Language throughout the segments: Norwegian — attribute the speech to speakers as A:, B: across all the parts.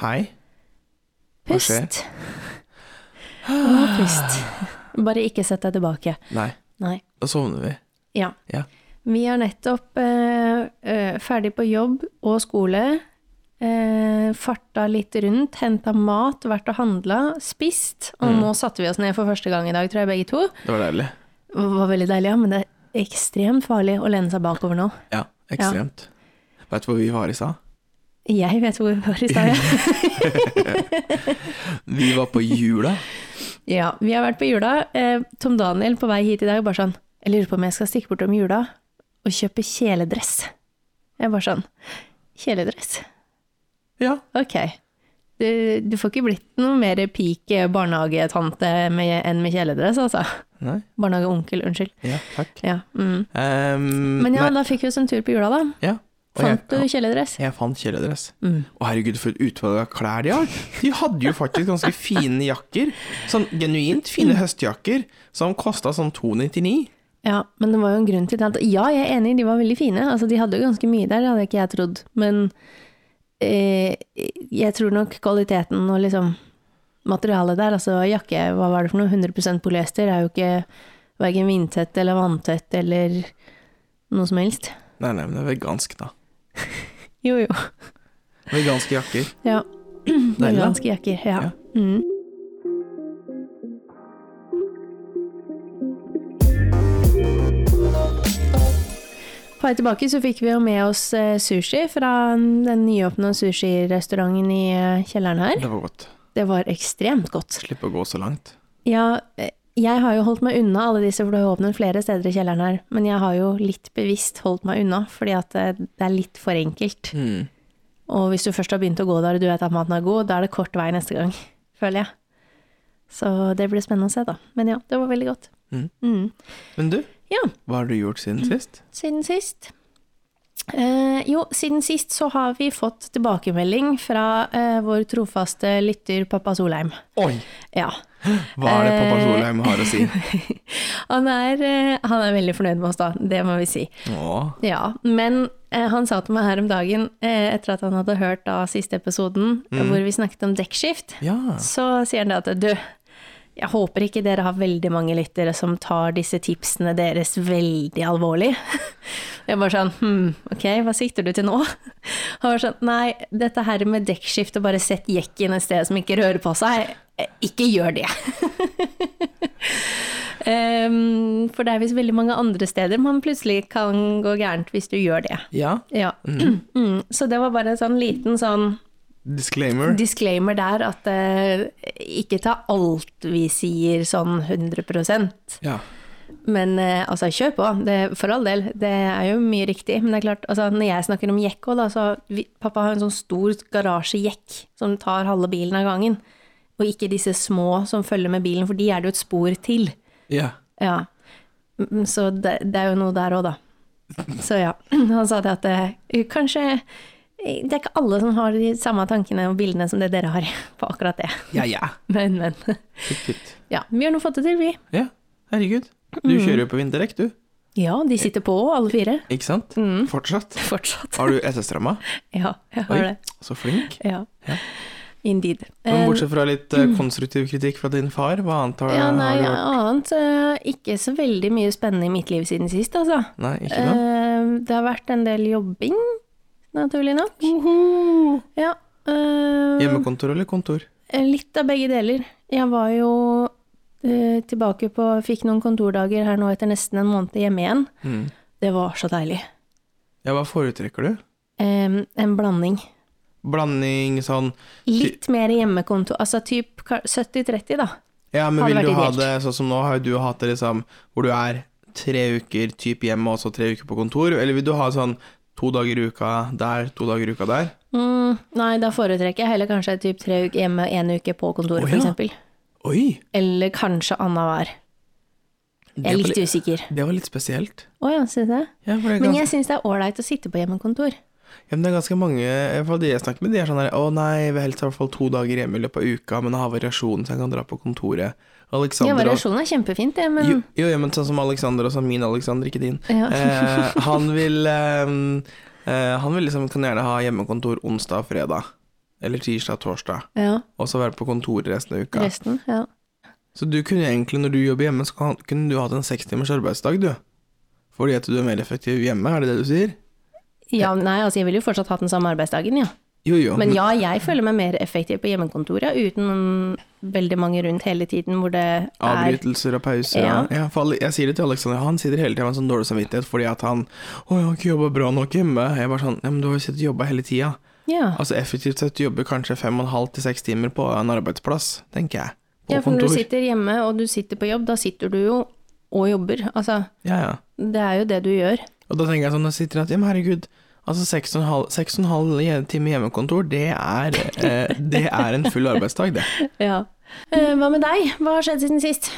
A: Hei. Hva skjer?
B: Pust. Å, pust. Bare ikke sett deg tilbake.
A: Nei,
B: Nei.
A: da sovner vi.
B: Ja.
A: Ja.
B: Vi er nettopp eh, eh, ferdig på jobb og skole. Eh, farta litt rundt, henta mat, vært og handla, spist. Og
A: Mm.
B: nå satte vi oss ned for første gang i dag, tror jeg, begge to.
A: Det var deilig.
B: Det var veldig deilig, ja, men det er ekstremt farlig å lene seg bakover nå.
A: Ja, ekstremt. Vet Veit du hvor vi var i stad?
B: Jeg vet hvor vi var i stad. ja.
A: Vi var på jula.
B: Ja, vi har vært på jula. Eh, Tom Daniel på vei hit i dag bare sånn Jeg lurer på om jeg skal stikke bortom jula og kjøpe kjeledress. Jeg bare sånn Kjeledress?
A: ja.
B: Ok. Du, du får ikke blitt noe mer peak barnehagetante med, enn med kjeledress, altså.
A: Nei.
B: Barnehageonkel, unnskyld.
A: Ja, takk.
B: Ja. Mm.
A: Ehm,
B: Men ja,
A: nei,
B: da fikk vi oss en tur på jula, da.
A: ja. Og
B: Fant du
A: jeg,
B: kjeledress?
A: jeg fant kjeledress.
B: Mm.
A: Å herregud, for et utvalg av klær de har! De hadde jo faktisk ganske fine jakker. Sånn genuint fine høstjakker som kosta sånn 299.
B: Ja, men det var jo en grunn til det. At, ja, jeg er enig, de var veldig fine. Altså, de hadde jo ganske mye der, det hadde ikke jeg trodd. Men eh, jeg tror nok kvaliteten og liksom materialet der, altså jakke, hva var det for noe, 100 polyester, er jo ikke verken vindtett eller vanntett eller noe som helst.
A: Nei, nei, men det er vegansk, da.
B: Jo, jo.
A: Veganske jakker.
B: Ja.
A: da.
B: Veganske jakker. Ja.
A: Ja.
B: Mm. På vei tilbake så fikk vi jo med oss eh, sushi fra den nyåpna sushirestauranten i eh, kjelleren her.
A: Det var godt.
B: Det var ekstremt godt.
A: Slipp å gå så langt.
B: Ja, eh, jeg har jo holdt meg unna alle disse, for det har åpnet flere steder i kjelleren her. Men jeg har jo litt bevisst holdt meg unna, fordi at eh, det er litt for enkelt.
A: Mm.
B: Og hvis du først har begynt å gå der og du vet at maten er god, da er det kort vei neste gang, føler jeg. Så det blir spennende å se, da. Men ja, det var veldig godt.
A: Mm.
B: Mm.
A: Men du,
B: Ja,
A: hva har du gjort siden sist?
B: siden sist. Eh, jo, siden sist så har vi fått tilbakemelding fra eh, vår trofaste lytter pappa Solheim.
A: Oi!
B: Ja.
A: Hva er det pappa
B: Eh.
A: Solheim har å si?
B: Han er, eh, han er veldig fornøyd med oss, da. Det må vi si.
A: Å,
B: Ja, men eh, han sa til meg her om dagen, eh, etter at han hadde hørt da siste episoden, hvor vi snakket om dekkskift,
A: ja.
B: så sier han det at du, jeg håper ikke dere har veldig mange lyttere som tar disse tipsene deres veldig alvorlig. Jeg bare sånn, hm, ok, hva sikter du til nå? Han var sånn, nei, dette her med dekkskift og bare sett jekken et sted som ikke rører på seg, eh, ikke gjør det. Em, for det er visst veldig mange andre steder man plutselig kan gå gærent hvis du gjør det.
A: Ja.
B: Ja. Mm, så det var bare en sånn liten sånn
A: Disclaimer.
B: disclaimer der at eh, ikke ta alt vi sier sånn 100
A: Ja.
B: men eh, altså, kjør på. Det, for all del, det er jo mye riktig. Men det er klart, altså, når jeg snakker om jekk òg, da, så vi, Pappa har en sånn stor garasjejekk som tar halve bilen av gangen. Og ikke disse små som følger med bilen, for de er det jo et spor til.
A: ja.
B: Ja. Mm, Så det, det er jo noe der òg, da. Så ja. Han sa det at eh, kanskje eh, Det er ikke alle som har de samme tankene og bildene som det dere har på akkurat det.
A: Ja, ja.
B: Men, men.
A: Kutt, kutt.
B: Ja, vi har nå fått det til, vi.
A: Ja, herregud. Du
B: Mm.
A: kjører jo på vinterdekk, du.
B: Ja, de sitter på, alle fire.
A: Ikke sant? Fortsatt.
B: Fortsatt.
A: Har du SS-ramma?
B: Ja, jeg Mm. har
A: Oi,
B: det.
A: så flink.
B: Ja.
A: Ja.
B: Indeed.
A: Men
B: Eh,
A: bortsett fra litt eh, konstruktiv kritikk fra din far, hva annet har,
B: ja, nei,
A: har du gjort?
B: annet eh, Ikke så veldig mye spennende i mitt liv siden sist, altså.
A: Nei, ikke noe?
B: Eh, det har vært en del jobbing, naturlig nok. Ja. eh,
A: Hjemmekontor eller kontor?
B: Eh, Litt av begge deler. Jeg var jo eh, tilbake på Fikk noen kontordager her nå etter nesten en måned hjemme igjen.
A: Mm.
B: Det var så deilig.
A: Ja, hva foretrekker du?
B: Eh, en blanding.
A: Blanding sånn
B: Litt mer hjemmekontor. Altså typ ka- 70-30, da.
A: Ja, men
B: Hadde
A: vil
B: vært
A: du ha
B: ideelt.
A: det sånn som nå, har jo du hatt det liksom hvor du er tre uker typ hjemme og så tre uker på kontor, eller vil du ha sånn to dager i uka der, to dager i uka der?
B: Mm, nei, da foretrekker jeg heller kanskje typ tre uker hjemme, én uke på kontoret,
A: Å,
B: for
A: ja.
B: eksempel.
A: Oi!
B: Eller kanskje annenhver. Jeg
A: det
B: er
A: var
B: litt
A: litt-
B: usikker.
A: Det var litt spesielt.
B: Å ja, syns jeg.
A: Ja, for det er
B: Men
A: ganske,
B: jeg syns det er ålreit å sitte på hjemmekontor.
A: ja, men det er ganske mange i hvert fall de jeg snakker med, de er sånn her Å nei, jeg vil helst ha i hvert fall to dager hjemme i løpet av uka, men jeg har variasjon, så jeg kan dra på kontoret.
B: Ja,
A: Alexander og
B: variasjon er kjempefint, det, men
A: jo, jo, ja, men sånn som Alexander og sånn min Alexander, ikke din.
B: Ja.
A: Eh, ehm, han vil eh, eh, Han vil liksom kan gjerne ha hjemmekontor onsdag og fredag. eller tirsdag, torsdag,
B: Ja.
A: og så være på kontoret resten av uka.
B: Resten, ja. så
A: Så du kunne egentlig, når du jobber hjemme, så kan- kunne du hatt en seks timers arbeidsdag, du. Fordi at du er mer effektiv hjemme, er det det du sier?
B: Ja, nei, altså jeg ville jo fortsatt hatt den samme arbeidsdagen, ja.
A: Jo, jo.
B: Men ja, jeg føler meg mer effektiv på hjemmekontoret, ja, uten veldig mange rundt hele tiden hvor det er
A: Avbrytelser og pauser. Ja.
B: Ja.
A: Ja. for alle- jeg sier det til Alexander, han sitter hele tida med en sånn dårlig samvittighet fordi at han 'Å, jeg har ikke jobba bra nok hjemme.' Jeg bare sånn 'Ja, men du har jo sittet og jobba hele tida.'
B: Ja,
A: Altså effektivt sett du jobber kanskje fem og en halv til seks timer på en arbeidsplass, tenker jeg. På
B: ja for når
A: kontor.
B: du sitter hjemme og du sitter på jobb, da sitter du jo og jobber. Altså,
A: Ja, ja.
B: det er jo det du gjør.
A: Og da tenker jeg sånn, da sitter jeg at 'Ja, men herregud'. Altså seks og en halv- seks og en halv hje- time hjemmekontor, det er, eh, det er en full arbeidsdag, det.
B: Ja. Eh, Hva med deg? Hva har skjedd siden sist?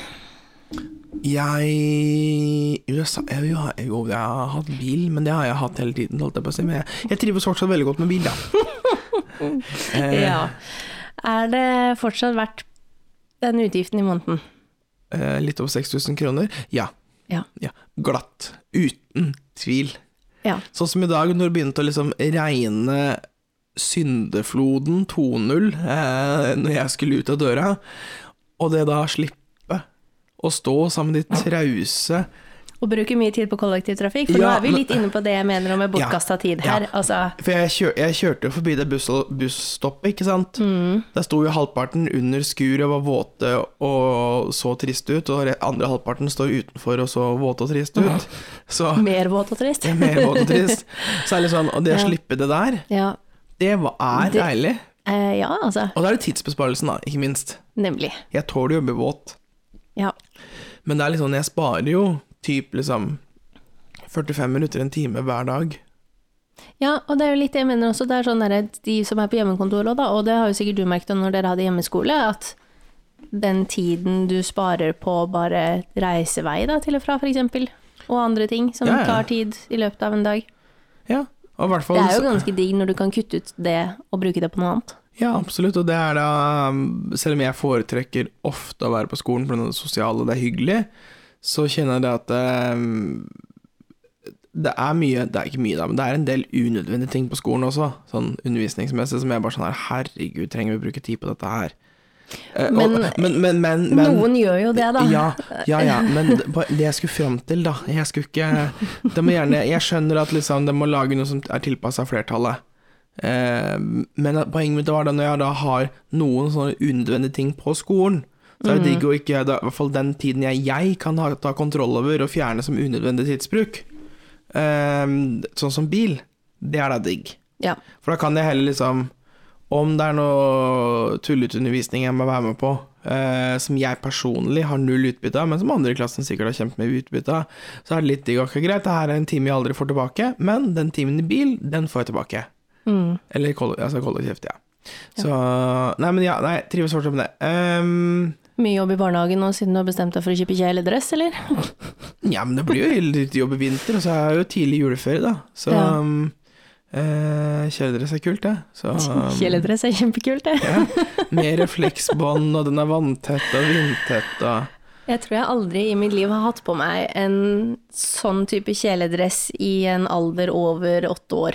A: Jeg USA, jeg, jo, jeg, jo, jeg har hatt bil, men det har jeg hatt hele tiden. Holdt jeg på å si. Men jeg, jeg trives fortsatt veldig godt med bil, da. eh,
B: Ja. Er det fortsatt verdt den utgiften i måneden?
A: eh, litt over 6000 kroner. Ja.
B: Ja.
A: Glatt. Uten tvil.
B: Ja.
A: Sånn som i dag, når det begynte å liksom regne syndefloden 2.0 eh, når jeg skulle ut av døra, og det da slippe å stå sammen med de trause
B: Og bruker mye tid på kollektivtrafikk, for nå
A: Ja,
B: er vi
A: men-
B: litt inne på det jeg mener om bortkasta tid her.
A: ja.
B: Altså,
A: For jeg, kjør, jeg kjørte jo forbi det buss, busstoppet, ikke sant?
B: Mm.
A: Der sto jo halvparten under skuret og var våte og så triste ut, og re- andre halvparten står utenfor og så våte og triste ut. Så
B: mer våt og trist.
A: mer våt og trist. Så er det sånn, og det å
B: Ja.
A: slippe det der,
B: Ja.
A: det var, er
B: Det-
A: deilig.
B: Eh, ja, altså.
A: Og da er det tidsbesparelsen, da, ikke minst.
B: Nemlig.
A: Jeg tåler jo å bli våt,
B: Ja.
A: men det er liksom, jeg sparer jo typ liksom 45 minutter, en time hver dag.
B: Ja, og det er jo litt det jeg mener også. Det er sånn der, de som er på hjemmekontor også, da, og det har jo sikkert du merket når dere hadde hjemmeskole, at den tiden du sparer på bare reisevei da, til og fra, for eksempel, og andre ting som
A: Ja, ja.
B: tar tid i løpet av en dag.
A: Ja, og i hvert fall
B: Det er jo ganske digg når du kan kutte ut det og bruke det på noe annet.
A: Ja, absolutt, og det er da um, Selv om jeg foretrekker ofte å være på skolen pga. det sosiale, det er hyggelig, så kjenner jeg det at um, det er mye, det er ikke mye da, men det er en del unødvendige ting på skolen også, sånn undervisningsmessig, som jeg bare sånn her Herregud, trenger vi å bruke tid på dette her? Eh, og,
B: Men-
A: men, men, men, men
B: Noen gjør jo det, da.
A: ja, ja, ja, men det på- det jeg skulle fram til, da Jeg skulle ikke det må gjerne, Jeg skjønner at liksom, de må lage noe som er tilpassa flertallet. Eh, men at poenget mitt var da når jeg da har noen sånne unødvendige ting på skolen, så
B: Mm.
A: er det digg å ikke da, I hvert fall den tiden jeg, jeg kan ha, ta kontroll over og fjerne som unødvendig tidsbruk, eh, sånn som bil, det er da digg.
B: Ja.
A: For da kan jeg heller liksom Om det er noe tullete undervisning jeg må være med på, eh, som jeg personlig har null utbytte av, men som andre i klassen sikkert har kjempemye utbytte av, så er det litt digg. Ok, greit, det her er en time jeg aldri får tilbake, men den timen i bil, den får jeg tilbake.
B: Mm.
A: Eller koll- altså kollektivt, ja. Så Nei, men ja, nei, jeg trives fortsatt med det. Ehm,
B: Mye jobb i barnehagen nå siden du har bestemt deg for å kjøpe kjeledress, eller?
A: ja, men det blir jo hele litt jobb i vinter, og så er det jo tidlig juleferie, da. Så
B: Ja.
A: um, eh, Kjeledress er kult, det. Så um,
B: Kjeledress er kjempekult, det.
A: Ja. Med refleksbånd, og den er vanntett og vindtett og
B: Jeg tror jeg aldri i mitt liv har hatt på meg en sånn type kjeledress i en alder over åtte år.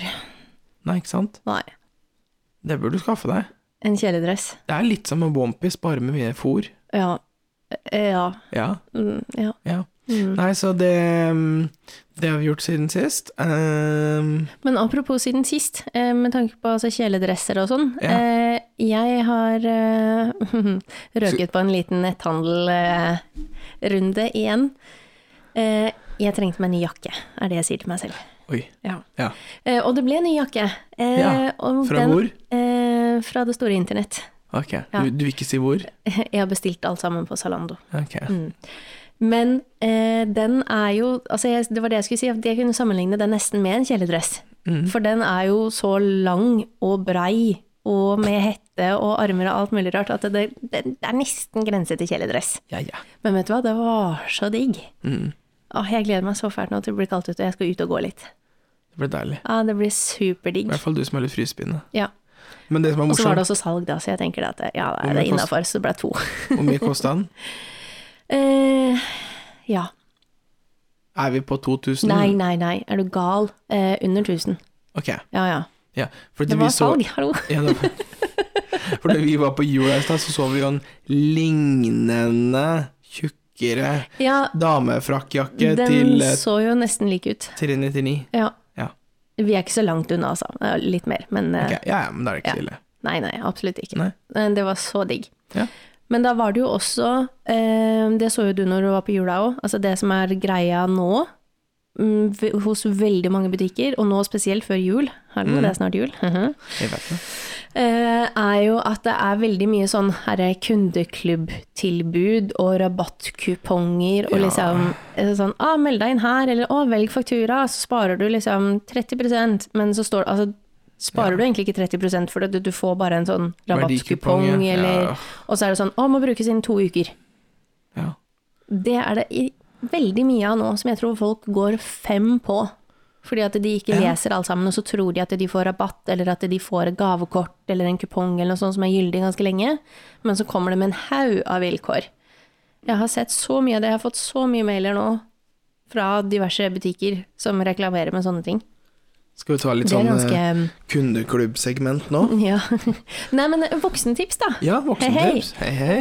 A: Nei, ikke sant?
B: Nei,
A: Det burde du skaffe deg.
B: en kjeledress.
A: Det er litt som en onepiece, bare med mye fôr.
B: Ja. Eh, Ja.
A: Ja.
B: Mm, ja.
A: ja.
B: Mm.
A: Nei, så det um, Det har vi gjort siden sist. Um,
B: Men apropos siden sist, eh, med tanke på altså, kjeledresser og sånn.
A: Ja.
B: eh, Jeg har eh, røket på en liten netthandelrunde igjen. Eh, Jeg trengte meg en ny jakke, er det jeg sier til meg selv.
A: oi.
B: Ja.
A: Ja.
B: Eh, Og det ble en ny jakke. Eh,
A: Ja,
B: og
A: Fra hvor?
B: Eh, fra det store internett.
A: Ok. Du, du vil ikke si hvor?
B: Jeg har bestilt alt sammen på Zalando.
A: Ok.
B: Mm. Men eh, den er jo altså jeg, Det var det jeg skulle si, at jeg kunne sammenligne den nesten med en kjeledress.
A: Mm.
B: For den er jo så lang og brei og med hette og armer og alt mulig rart at det, det, det er nesten grense til kjeledress.
A: Ja, ja.
B: Men vet du hva, det var så digg.
A: Mm.
B: Åh, jeg gleder meg så fælt nå til det blir kaldt ute og jeg skal ut og gå litt.
A: Det ble deilig.
B: Ja, det blir
A: I
B: superdigg.
A: hvert fall du som er litt frysepinne.
B: Ja.
A: Men det som er
B: Og så var det
A: morsomt,
B: også salg, da, så jeg tenker at ja,
A: Hvor mye
B: det er
A: kost-
B: innafor, så det ble to.
A: hvor mye kosta den?
B: eh, ja.
A: Er vi på 2000?
B: Nei, nei, nei. Er du gal? Eh, under 1000.
A: Ok.
B: Ja, ja.
A: Ja. Fordi
B: Det var
A: vi så
B: salg, hallo.
A: Ja, det var, For da vi var på jul her i stad, så så vi jo en lignende, tjukkere
B: Ja,
A: damefrakkjakke
B: den
A: til eh,
B: så jo nesten lik ut.
A: 399.
B: Ja.
A: Ja.
B: Vi er ikke så langt unna, altså. Det er Litt mer, men eh,
A: Ok, ja, ja, men da er det ikke
B: ja.
A: så ille.
B: Nei, nei, absolutt ikke.
A: Nei.
B: Eh, Det var så digg.
A: Ja.
B: Men da var det jo også eh, Det så jo du når du var på jula òg. Altså det som er greia nå mm, v- hos veldig mange butikker, og nå spesielt før jul,
A: Mm.
B: hallo, det er snart jul,
A: Jeg vet det.
B: eh, er jo at det er veldig mye sånn herre kundeklubbtilbud og rabattkuponger og
A: Ja.
B: liksom eh, sånn ah, meld deg inn her, eller å, velg faktura, så sparer du liksom 30 men så står det altså Sparer du egentlig ikke 30 for du, du får bare en sånn
A: Verdikupong,
B: rabattkupong,
A: ja.
B: eller
A: Ja.
B: Og så er det sånn Å, må brukes innen to uker.
A: Ja.
B: Det er det i, veldig mye av nå som jeg tror folk går fem på. Fordi at de ikke
A: Ja.
B: leser alt sammen, og så tror de at de får rabatt, eller at de får et gavekort eller en kupong eller noe sånt som er gyldig ganske lenge. Men så kommer det med en haug av vilkår. Jeg har sett så mye av det, jeg har fått så mye mailer nå fra diverse butikker som reklamerer med sånne ting.
A: Skal vi ta litt
B: Det er
A: sånn
B: ganske
A: eh, kundeklubbsegment nå?
B: Ja. Nei, men voksentips, da.
A: Ja, voksentips. Hei, hei.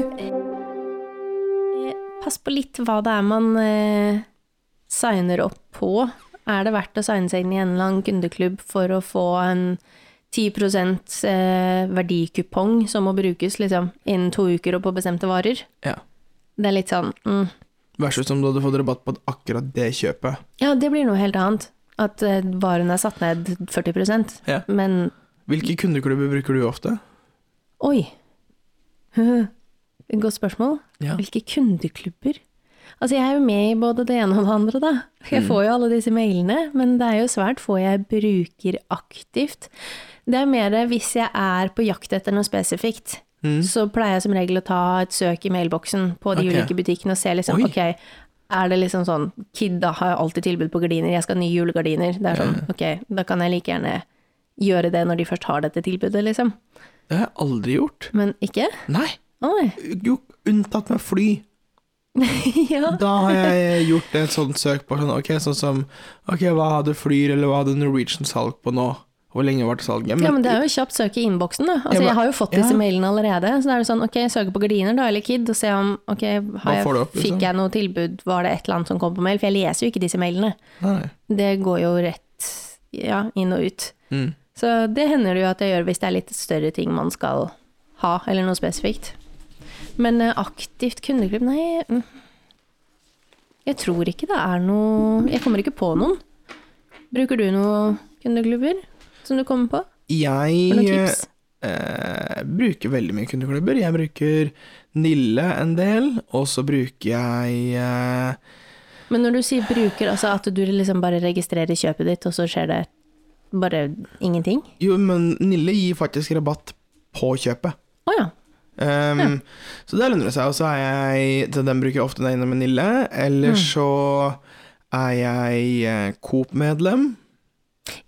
B: Pass på litt hva det er man eh, signer opp på. Er det verdt å signe seg inn i en eller annen kundeklubb for å få en 10 eh, verdikupong som må brukes liksom, innen to uker og på bestemte varer?
A: Ja.
B: Det er litt sånn mm.
A: Versus om du hadde fått rabatt på akkurat det kjøpet.
B: Ja, det blir noe helt annet. At eh, varen er satt ned 40
A: Ja.
B: Men
A: Hvilke kundeklubber bruker du ofte?
B: oi Godt spørsmål.
A: Ja.
B: Hvilke kundeklubber? Altså, jeg er jo med i både det ene og det andre, da.
A: Mm.
B: Jeg får jo alle disse mailene, men det er jo svært få jeg bruker aktivt. Det er mer hvis jeg er på jakt etter noe spesifikt. Så pleier jeg som regel å ta et søk i mailboksen på de
A: Mm. Ok.
B: ulike butikkene og se liksom,
A: Oi.
B: ok, er det liksom sånn, kid da har jeg alltid tilbud på gardiner, jeg skal ha nye julegardiner. Det er sånn, ok, da kan jeg like gjerne gjøre det når de først har dette tilbudet, liksom.
A: Det har jeg aldri gjort.
B: Men ikke?
A: Nei,
B: Oi,
A: jo, unntatt med fly.
B: ja.
A: Da har jeg eh, gjort et sånt søk på sånn, ok, sånn som Ok, hva hadde Flyr eller hva hadde Norwegian salg på nå? Hvor lenge var det salget?
B: Ja, men det er jo kjapt søk i innboksen, da. Altså,
A: Ja, men-
B: jeg har jo fått disse
A: ja.
B: mailene allerede. Så da er det sånn, ok, søke på gardiner da, eller KID, og se om, ok, har
A: får du
B: jeg,
A: opp, liksom?
B: fikk jeg noe tilbud, var det et eller annet som kom på mail? For jeg leser jo ikke disse mailene.
A: Nei, nei.
B: Det går jo rett ja, inn og ut.
A: Mm.
B: Så det hender det jo at jeg gjør hvis det er litt større ting man skal ha, eller noe spesifikt. Men eh, aktivt kundeklubb, nei mm. Jeg tror ikke det er noe Jeg kommer ikke på noen. Bruker du noen kundeklubber som du kommer på? Har du
A: Jeg
B: noen tips?
A: eh, bruker veldig mye kundeklubber. Jeg bruker Nille en del, og så bruker jeg eh,
B: Men når du sier bruker, altså at du liksom bare registrerer kjøpet ditt, og så skjer det bare ingenting?
A: Jo, men Nille gir faktisk rabatt på kjøpet.
B: Å ja.
A: Ehm, Så det lønner det seg. Og så er jeg så Den bruker jeg ofte når jeg er innom med Nille.
B: Mm.
A: Eller så er jeg eh, Coop-medlem.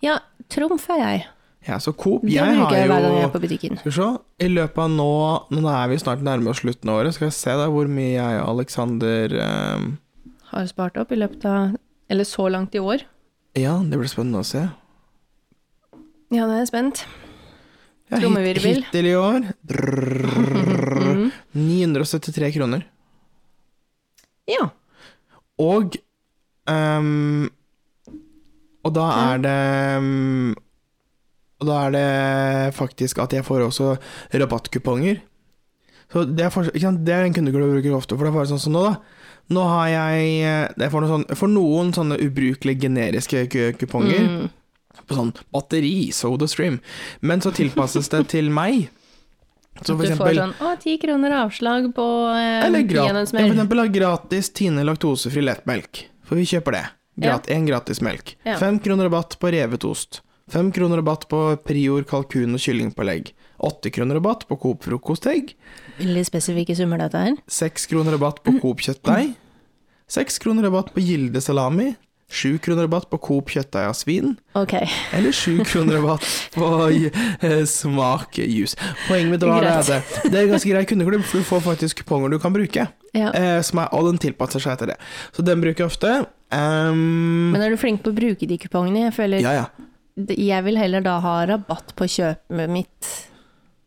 B: Ja, trumf er jeg.
A: Ja, så Coop
B: Det
A: Jeg
B: bruker
A: har
B: jeg
A: jo
B: hver gang jeg er på butikken.
A: Skal vi se. I løpet av nå Nå er vi snart nærme oss slutten av året. Skal vi se da hvor mye jeg og ehm, Aleksander
B: Har spart opp i løpet av Eller så langt i år.
A: Ja, det blir spennende å se.
B: Ja, nå er jeg spent.
A: Ja, hit-
B: Trommevirvel. Mhm.
A: Hittil i år drrrr, 973 kroner.
B: Ja.
A: Og ehm, Og da er det ehm, Og da er det faktisk at jeg får også rabattkuponger. Så det er, for, ikke sant? det er en kundeklubben jeg bruker ofte, for det er bare sånn som nå, da. Nå har jeg eh, Jeg får noen, sånne, for noen sånne ubrukelige generiske ku- kuponger.
B: Mm.
A: På sånn batteri, SodaStream. Men så tilpasses det til meg.
B: Du
A: Så for
B: får
A: eksempel
B: sånn eh, å, ti kroner avslag på
A: eller gratis, ja, for
B: peanøttsmør.
A: eksempel da, gratis Tine laktosefri lettmelk. For vi kjøper det. Grat, En gratis melk.
B: Ja.
A: Fem kroner rabatt på revet ost. Fem kroner rabatt på Prior kalkun og kyllingpålegg. Åtte kroner rabatt på Coop frokostegg.
B: Veldig spesifikke summer, dette her.
A: Seks kroner rabatt på Coop kjøttdeig. Seks kroner rabatt på Gilde salami. Sju kroner rabatt på Coop kjøttdeig av svin.
B: Ok.
A: Eller sju kroner rabatt på eh, smak jus. Poenget mitt var det
B: Greit.
A: at det- det er en ganske grei kundeklubb, for du får faktisk kuponger du kan bruke.
B: Ja.
A: Eh, som er, og den tilpasser seg etter det. Så den bruker jeg ofte. Ehm,
B: Men er du flink på å bruke de kupongene? Jeg føler
A: ja, ja.
B: Jeg vil heller da ha rabatt på kjøpet mitt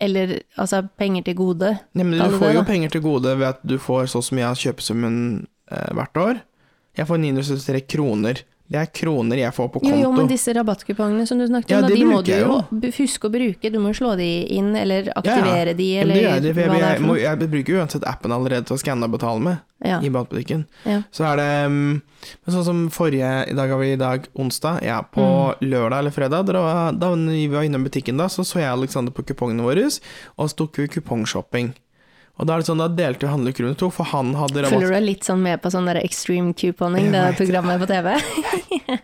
B: Eller altså penger til gode.
A: Nei, men
B: Kaller
A: du
B: det
A: får jo
B: det, da.
A: penger til gode ved at du får sånn som jeg har kjøpesummen eh, hvert år. Jeg får 973 kroner. Det er kroner jeg får
B: Jo,
A: på konto.
B: jo, men disse rabattkupongene som du snakket
A: Ja,
B: om, da,
A: de
B: de må
A: bruker
B: du
A: jeg
B: jo
A: jo.
B: b- huske å bruke. Du må jo slå de inn, eller aktivere de,
A: Ja, men
B: eller
A: det gjør
B: hva
A: jeg, for jeg,
B: det er
A: jeg,
B: for
A: må,
B: noe.
A: jeg bruker jo uansett appen allerede til å skanne og betale med
B: Ja.
A: i matbutikken.
B: Ja.
A: Så er det mm, men sånn som forrige I dag har vi i dag onsdag. Ja, på
B: Mm.
A: lørdag eller fredag, da, da vi var innom butikken, da, så så jeg Alexander på kupongene våre, og så tok vi kupongshopping. Og da er det sånn, da delte vi handlekurven i to, for han hadde rabatt
B: Følger du deg litt sånn med på sånn der extreme couponing,
A: Jeg
B: det der
A: vet det.
B: programmet på TV?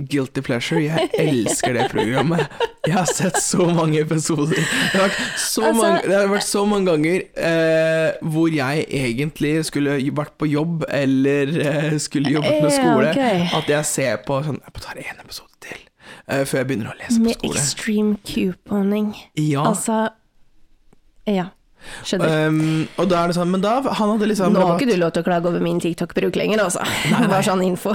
A: Guilty Pleasure. Jeg elsker det programmet. Jeg har sett så mange episoder. Det har vært så,
B: Altså-
A: mange, det har vært så mange ganger eh, hvor jeg egentlig skulle vært på jobb eller eh, skulle jobbet med
B: Ja,
A: skole,
B: ok.
A: at jeg ser på sånn Jeg tar én episode til eh, før jeg begynner å lese på
B: Med
A: skole.
B: extreme couponing.
A: Ja.
B: Altså Ja. Skjønner.
A: Um, og da er det sånn Men da Han hadde liksom
B: Nå har
A: rabatt.
B: ikke du lov til å klage over min TikTok-bruk lenger, altså. Bare sånn info.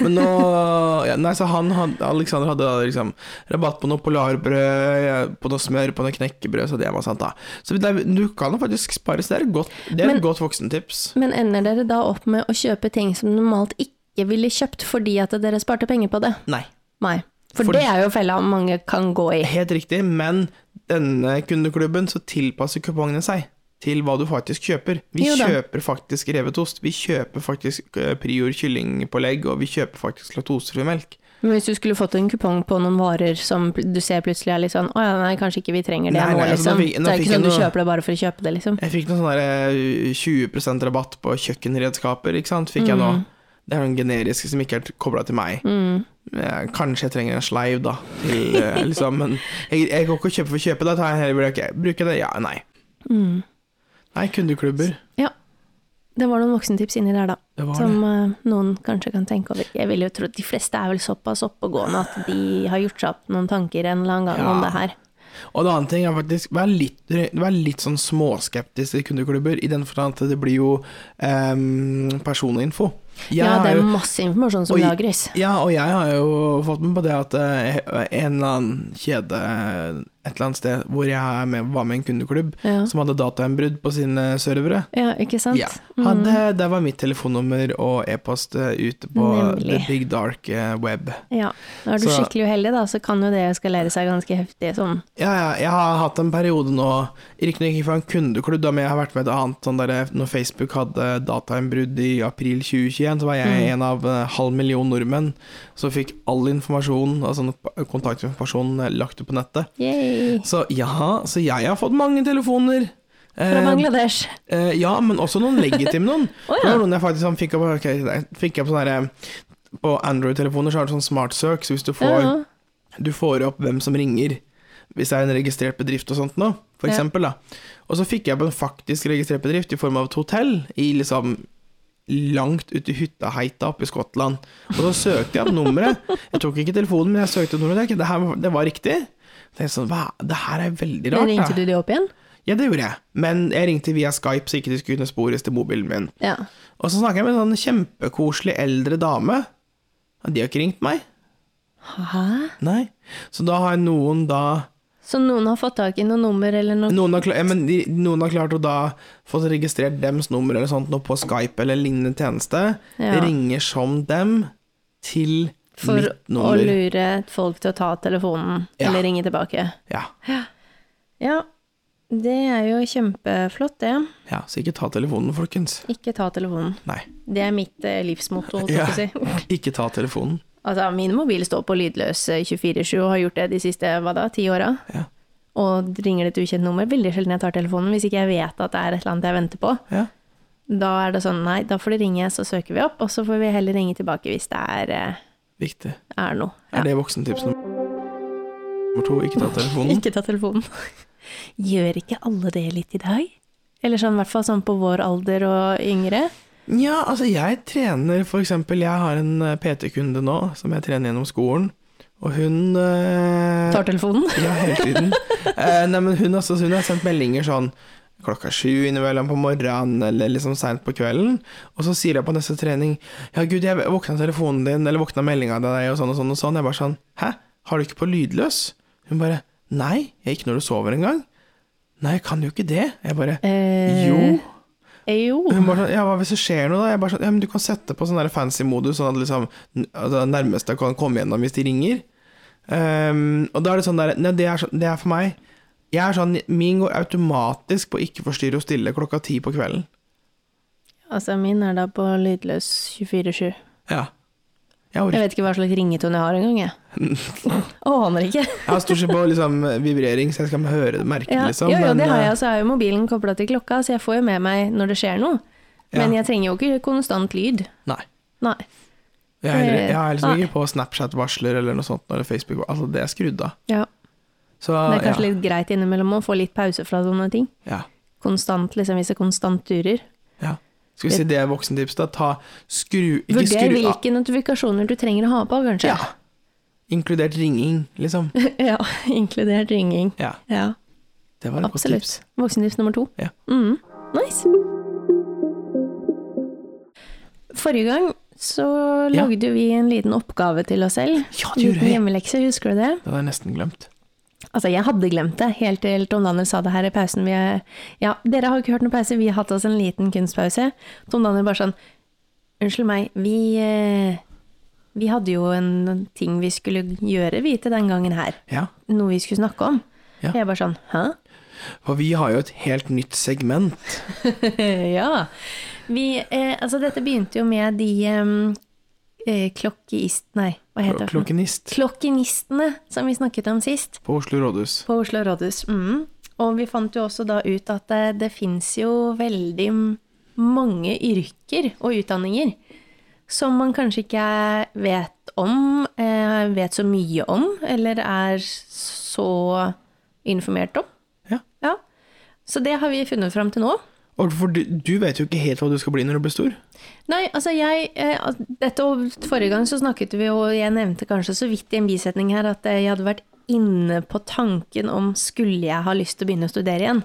A: Men nå ja, Nei, så han hadde, Alexander hadde da liksom rabatt på noe polarbrød, ja, på noe smør, på noe knekkebrød, så det var sant, da. Så det, er- du kan jo faktisk spare, så det er et godt, det er
B: Men-
A: et godt voksentips.
B: Men ender dere da opp med å kjøpe ting som normalt ikke ville kjøpt fordi at dere sparte penger på det?
A: Nei,
B: Nei. For,
A: For-
B: det er jo fella mange kan gå i.
A: helt riktig, men denne kundeklubben så tilpasser kupongene seg til hva du faktisk kjøper. Vi
B: Jo da.
A: kjøper faktisk revet ost, vi kjøper faktisk eh, Prior kyllingpålegg, og vi kjøper faktisk laktosefri melk.
B: Men hvis du skulle fått en kupong på noen varer som pl- du ser plutselig er litt sånn Å ja, nei, kanskje ikke vi trenger det
A: Nei,
B: nå,
A: nei, altså,
B: liksom.
A: nå fikk- nå
B: det er
A: fikk
B: ikke sånn
A: jeg
B: du
A: noe-
B: kjøper det bare for å kjøpe det, liksom.
A: Jeg fikk noen sånn der eh, 20 rabatt på kjøkkenredskaper, ikke sant, fikk jeg nå.
B: Mm.
A: Det er noen generiske som ikke er kobla til meg. Eh, Kanskje jeg trenger en sleiv, da, til, eh, liksom, men jeg, jeg går ikke og kjøper for å kjøpe, da tar jeg heller bruke, bruke det. Ja, nei.
B: Mm.
A: Nei, kundeklubber.
B: Ja. Det var noen voksentips inni der, da.
A: Det var
B: Som
A: det.
B: eh, noen kanskje kan tenke over. Jeg vil jo tro at de fleste er vel såpass oppegående at de har gjort seg opp noen tanker en eller annen gang
A: Ja.
B: om det her.
A: Og det andre ting er faktisk, vær litt, vær litt sånn småskeptisk til kundeklubber, i den forstand at det blir jo eh, personinfo. Jeg
B: Ja,
A: har
B: det
A: jo-
B: er masse informasjon som
A: Oi.
B: lagres.
A: Ja, og jeg har jo fått med på det at eh, en eller annen kjede eh, et eller annet sted hvor jeg er med, var med i en kundeklubb,
B: Ja.
A: som hadde datainnbrudd på sine servere.
B: ja, ikke sant? Mm.
A: Ja. Hadde, der var mitt telefonnummer og e-post eh, ute på
B: Nemlig.
A: the big dark eh, web.
B: Ja. Når du er
A: Så-
B: skikkelig uheldig, da, så kan jo det eskalere seg ganske heftig sånn.
A: Ja, ja, jeg har hatt en periode nå, riktignok ikke fra en kundeklubb, da, men jeg har vært med i et annet sånn derre Når Facebook hadde datainnbrudd i april 2021, så var jeg
B: Mhm.
A: en av eh, halv million nordmenn som fikk all informasjon, altså kontaktinformasjon, eh, lagt ut på nettet.
B: Yay.
A: Så ja, så jeg har fått mange telefoner.
B: Fra
A: Eh,
B: Bangladesh.
A: eh, ja, men også noen legitime noen.
B: Å
A: Det
B: ja.
A: var noen jeg faktisk sånn, fikk opp, ok, jeg fikk opp sånne her, eh, På Android-telefoner så har du sånn smart søk, så hvis du får,
B: ja.
A: du får opp hvem som ringer, hvis det er en registrert bedrift og sånt nå, for
B: Ja.
A: eksempel da. Og så fikk jeg opp en faktisk registrert bedrift i form av et hotell i liksom langt ute i hytteheita oppe i Skottland. Og så søkte jeg opp nummeret. Jeg tok ikke telefonen, men jeg søkte opp nummeret. Det, her, det var riktig. Det, er sånn, hva, det her er veldig
B: Men
A: rart. da.
B: ringte du de opp igjen?
A: Ja, det gjorde jeg. Men jeg ringte via Skype, så ikke de skulle kunne spores til mobilen min.
B: Ja.
A: Og så snakket jeg med en sånn kjempekoselig eldre dame. Ja, De har ikke ringt meg.
B: Hæ?
A: Nei. Så da har noen da
B: Så noen har fått tak i noe nummer eller noe
A: Noen har, kla- ja, men de, noen har klart å da få registrert dems nummer eller sånt nå på Skype eller lignende tjeneste.
B: Ja.
A: Ringer som dem til
B: for
A: mitt
B: å
A: nummer.
B: lure folk til å ta telefonen
A: Ja.
B: eller ringe tilbake?
A: Ja.
B: Ja, det er jo kjempeflott, det.
A: ja, så ikke ta telefonen, folkens.
B: Ikke ta telefonen.
A: Nei,
B: Det er mitt eh, livsmotto, holdt jeg på å
A: Ja.
B: si.
A: ikke ta telefonen.
B: Altså, min mobil står på lydløs eh, 24-7 og har gjort det de siste hva da, ti åra.
A: Ja.
B: Og ringer det et ukjent nummer, veldig sjelden jeg tar telefonen hvis ikke jeg vet at det er et eller annet jeg venter på.
A: Ja.
B: Da er det sånn, nei, da får det ringe, så søker vi opp, og så får vi heller ringe tilbake hvis det er, eh,
A: Viktig.
B: er noe.
A: Er det voksentips nummer nummer to? Ikke ta telefonen.
B: Ikke ta telefonen. Gjør ikke alle det litt i dag? Eller sånn, i hvert fall sånn på vår alder og yngre.
A: Ja, altså jeg trener for eksempel, jeg har en eh, PT-kunde nå, som jeg trener gjennom skolen, og hun eh,
B: Tar telefonen.
A: Ja, hele tiden. Eh, nei, men hun, altså, hun har sendt meldinger sånn klokka sju innimellom på morgenen, eller liksom seint på kvelden, og så sier jeg på neste trening Ja, gud, jeg våkna telefonen din, eller våkna meldinga til deg, og sånn og sånn og sånn. Jeg bare sånn Hæ, har du ikke på lydløs? Hun bare Nei, jeg er ikke når du sover engang. Nei, jeg kan jo ikke det. Jeg bare
B: Eh,
A: Jo.
B: eh, Jo.
A: Hun bare sånn, ja, hva hvis det skjer noe da? Jeg bare sånn, ja, men du kan sette på sånn der fancy modus, sånn at liksom, n- altså, det nærmeste kan komme gjennom hvis de ringer. Ehm, og da er det sånn der, nei, det er, sånn- det er for meg. Jeg er sånn, min går automatisk på ikke forstyrre og stille klokka ti på kvelden.
B: Altså, min er da på lydløs 24-7.
A: Ja. Jeg, orker-
B: Jeg vet ikke hva slags ringetone jeg har engang, jeg. Aner ikke.
A: jeg har stort sett på liksom, vibrering, så jeg skal høre det, merke det,
B: Ja.
A: liksom.
B: jo, jo,
A: men,
B: det har
A: eh,
B: jeg, og så er jo mobilen kobla til klokka, så jeg får jo med meg når det skjer noe. Men
A: Ja.
B: jeg trenger jo ikke konstant lyd.
A: Nei.
B: Nei.
A: Jeg har heller- jeg har liksom
B: Eh, Nei.
A: ikke på Snapchat-varsler eller noe sånt, eller Facebook, altså det er skrudd av.
B: Ja.
A: Så,
B: Det er kanskje
A: Ah, ja.
B: litt greit innimellom å få litt pause fra sånne ting.
A: Ja.
B: Konstant, liksom, hvis det konstant durer.
A: Ja. Skal vi si det er voksentips, da? Ta skru Ikke
B: Vurder
A: skru av.
B: hvilke notifikasjoner du trenger å ha på, kanskje.
A: Ja. Inkludert ringing, liksom.
B: Ja, inkludert ringing.
A: Ja,
B: Ja,
A: det var et godt tips.
B: absolutt. Voksentips nummer to.
A: Ja.
B: Mm, nice. Forrige gang så
A: Ja.
B: lagde vi en liten oppgave til oss selv.
A: Ja, det gjorde
B: Liten
A: jeg.
B: hjemmelekse, husker du det?
A: Det hadde jeg nesten glemt.
B: Altså, jeg hadde glemt det, helt til Tom Danner sa det her i pausen. Vi er, ja, dere har ikke hørt noen pause, vi har hatt oss en liten kunstpause. Tom Danner bare sånn, unnskyld meg, vi, eh, vi hadde jo en ting vi skulle gjøre, vi, til den gangen her.
A: Ja,
B: Noe vi skulle snakke om.
A: Ja.
B: Og Jeg bare sånn, hæ?
A: For vi har jo et helt nytt segment.
B: ja. Vi, eh, altså, dette begynte jo med de em, eh, klokkeist... Nei, hva heter det? for noe?
A: Klokkenist
B: Klokkenistene, som vi snakket om sist.
A: på Oslo rådhus.
B: På Oslo rådhus. Mm. Og vi fant jo også da ut at det, det fins jo veldig m- mange yrker og utdanninger som man kanskje ikke eh, vet om, eh, vet så mye om, eller er så informert om.
A: Ja.
B: Ja. Så det har vi funnet fram til nå.
A: Og for du, du vet jo ikke helt hva du skal bli når du blir stor.
B: Nei, altså jeg eh, al- dette, og Forrige gang så snakket vi jo, og jeg nevnte kanskje så vidt i en bisetning her, at eh, jeg hadde vært inne på tanken om skulle jeg ha lyst til å begynne å studere igjen.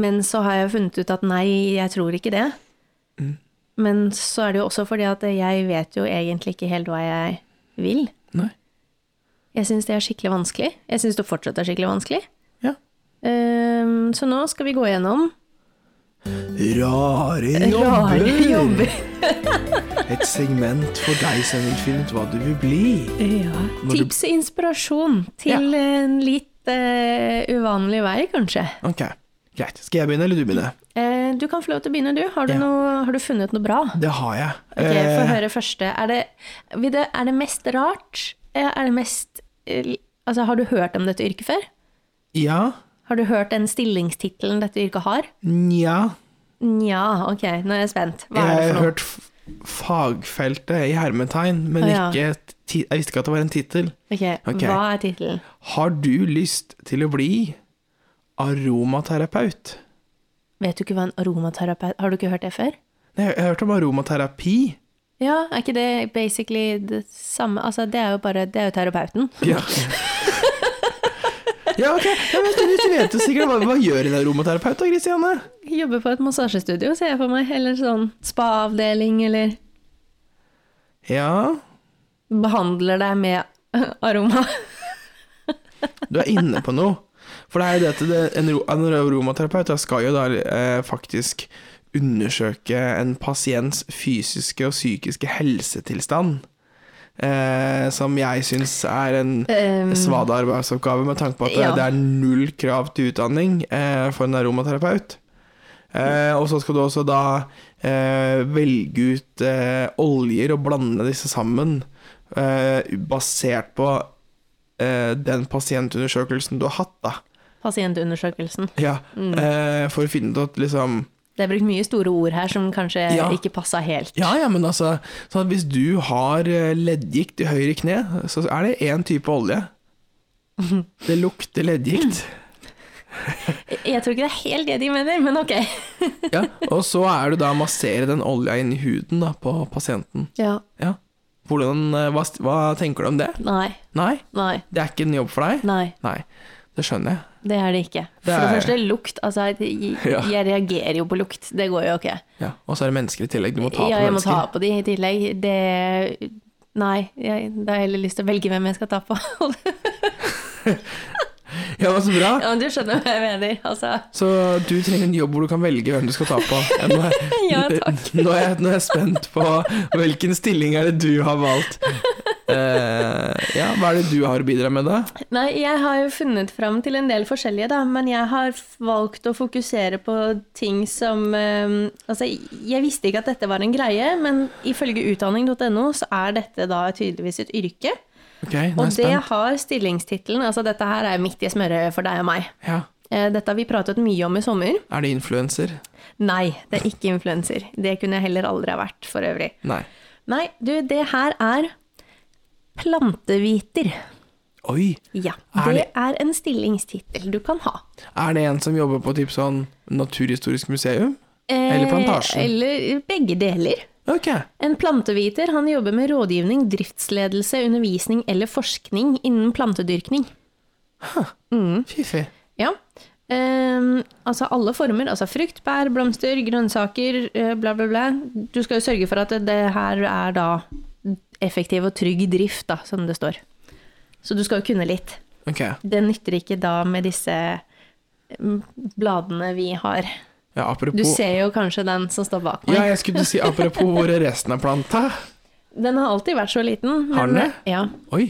B: Men så har jeg funnet ut at nei, jeg tror ikke det. Men så er det jo også fordi at jeg vet jo egentlig ikke helt hva jeg vil.
A: Nei.
B: Jeg syns det er skikkelig vanskelig. Jeg syns det fortsatt er skikkelig vanskelig.
A: Ja.
B: Ehm, så nå skal vi gå gjennom
A: Rare
B: rare
A: jobber!
B: jobber.
A: Et segment for deg som vil finne ut hva du vil bli.
B: Ja.
A: Når du-
B: Tips og inspirasjon til en litt eh, uvanlig vei, kanskje.
A: Ok, greit. Skal jeg begynne, eller du begynne?
B: Eh, du kan få lov til å begynne, du. Har du,
A: Ja.
B: noe, har du funnet noe bra?
A: Det har jeg.
B: Ok, Få
A: Eh,
B: høre første. Er det, vil det, er det mest rart? Eh, Er det mest eh, Altså, har du hørt om dette yrket før?
A: ja.
B: Har du hørt den stillingstittelen dette yrket har?
A: Nja.
B: Nja, ok, nå er jeg spent. Hva er det
A: Jeg har
B: for noe?
A: hørt f- fagfeltet i hermetegn, men
B: Å, ja.
A: ikke ti jeg visste ikke at det var en tittel.
B: Ok,
A: Ok.
B: Hva er tittelen?
A: Har du lyst til å bli aromaterapeut?
B: Vet du ikke hva en aromaterapeut Har du ikke hørt det før?
A: Nei, jeg har hørt om aromaterapi.
B: Ja, er ikke det basically det samme Altså, det er jo bare Det er jo terapeuten.
A: Ja, ja ok. Ja, men du, du vet jo sikkert hva, hva gjør en aromaterapeut da, Kristiane?
B: Jobbe på et massasjestudio, ser jeg for meg. Eller sånn spa-avdeling, eller
A: Ja,
B: behandler deg med aroma.
A: du er inne på noe. For det er jo det at det, en, ro- en aromaterapeut da skal jo da eh, faktisk undersøke en pasients fysiske og psykiske helsetilstand. Eh, som jeg syns er en
B: Um,
A: svada arbeidsoppgave med tanke på at det-
B: Ja.
A: det er null krav til utdanning eh, for en aromaterapeut. Eh, og så skal du også da eh, velge ut eh, oljer og blande disse sammen eh, basert på eh, den pasientundersøkelsen du har hatt, da.
B: Pasientundersøkelsen.
A: Ja, eh, for å finne ut at liksom
B: Det er brukt mye store ord her som kanskje
A: Ja.
B: ikke passa helt.
A: Ja, ja, men altså sånn at Hvis du har eh, leddgikt i høyre kne, så er det én type olje. Det lukter leddgikt.
B: Jeg tror ikke det er helt det de mener, men ok.
A: Ja, og så er det da å massere den olja inn i huden da, på pasienten.
B: Ja.
A: Ja. Hvordan, eh, hva, hva tenker du om det?
B: Nei,
A: Nei,
B: nei,
A: det er ikke en jobb for deg?
B: nei.
A: Nei, det skjønner jeg.
B: Det er det ikke. For
A: Det
B: det,
A: er-
B: første, lukt. Altså, jeg,
A: Ja.
B: jeg reagerer jo på lukt. Det går jo ikke.
A: Ja. Og så er det mennesker i tillegg, du må ta
B: ja,
A: på
B: jeg må
A: mennesker.
B: ta på de i tillegg. Det Nei, jeg, da har jeg heller lyst til å velge hvem jeg skal ta på.
A: Ja, men så bra.
B: Ja, men du skjønner hva jeg mener. Altså,
A: Så du trenger en jobb hvor du kan velge hvem du skal ta på. Ja, Nå er,
B: ja takk.
A: nå er, jeg, nå er jeg spent på hvilken stilling er det du har valgt. Eh, ja, hva er det du har å bidra med, da?
B: Nei, jeg har jo funnet fram til en del forskjellige, da, men jeg har f- valgt å fokusere på ting som eh, Altså, jeg visste ikke at dette var en greie, men ifølge utdanning.no så er dette da tydeligvis et yrke.
A: Ok, nå er
B: Og
A: jeg
B: det
A: spent.
B: har stillingstittelen Altså, dette her er midt i smørøyet for deg og meg.
A: Ja.
B: Eh, Dette har vi pratet mye om i sommer.
A: Er det influenser?
B: Nei, det er ikke influenser. Det kunne jeg heller aldri ha vært for øvrig.
A: Nei.
B: Nei, du, det her er planteviter.
A: Oi!
B: Ja,
A: Er
B: det er en stillingstittel du kan ha.
A: Er det en som jobber på typ sånn Naturhistorisk museum?
B: Eh,
A: Eller plantasjen.
B: Eller begge deler.
A: Ok.
B: En planteviter han jobber med rådgivning, driftsledelse, undervisning eller forskning innen plantedyrkning.
A: Fiffig.
B: Ja. Ehm, altså alle former, altså frukt, bær, blomster, grønnsaker, eh, bla, bla, bla. Du skal jo sørge for at det her er da effektiv og trygg drift, da, som det står. Så du skal jo kunne litt.
A: Ok.
B: Det nytter ikke da med disse mm, bladene vi har.
A: Ja, apropos
B: Du ser jo kanskje den som står bak meg.
A: Ja, jeg skulle si apropos hvor er resten av planta.
B: Den har alltid vært så liten.
A: Har den det?
B: Ja.
A: Oi.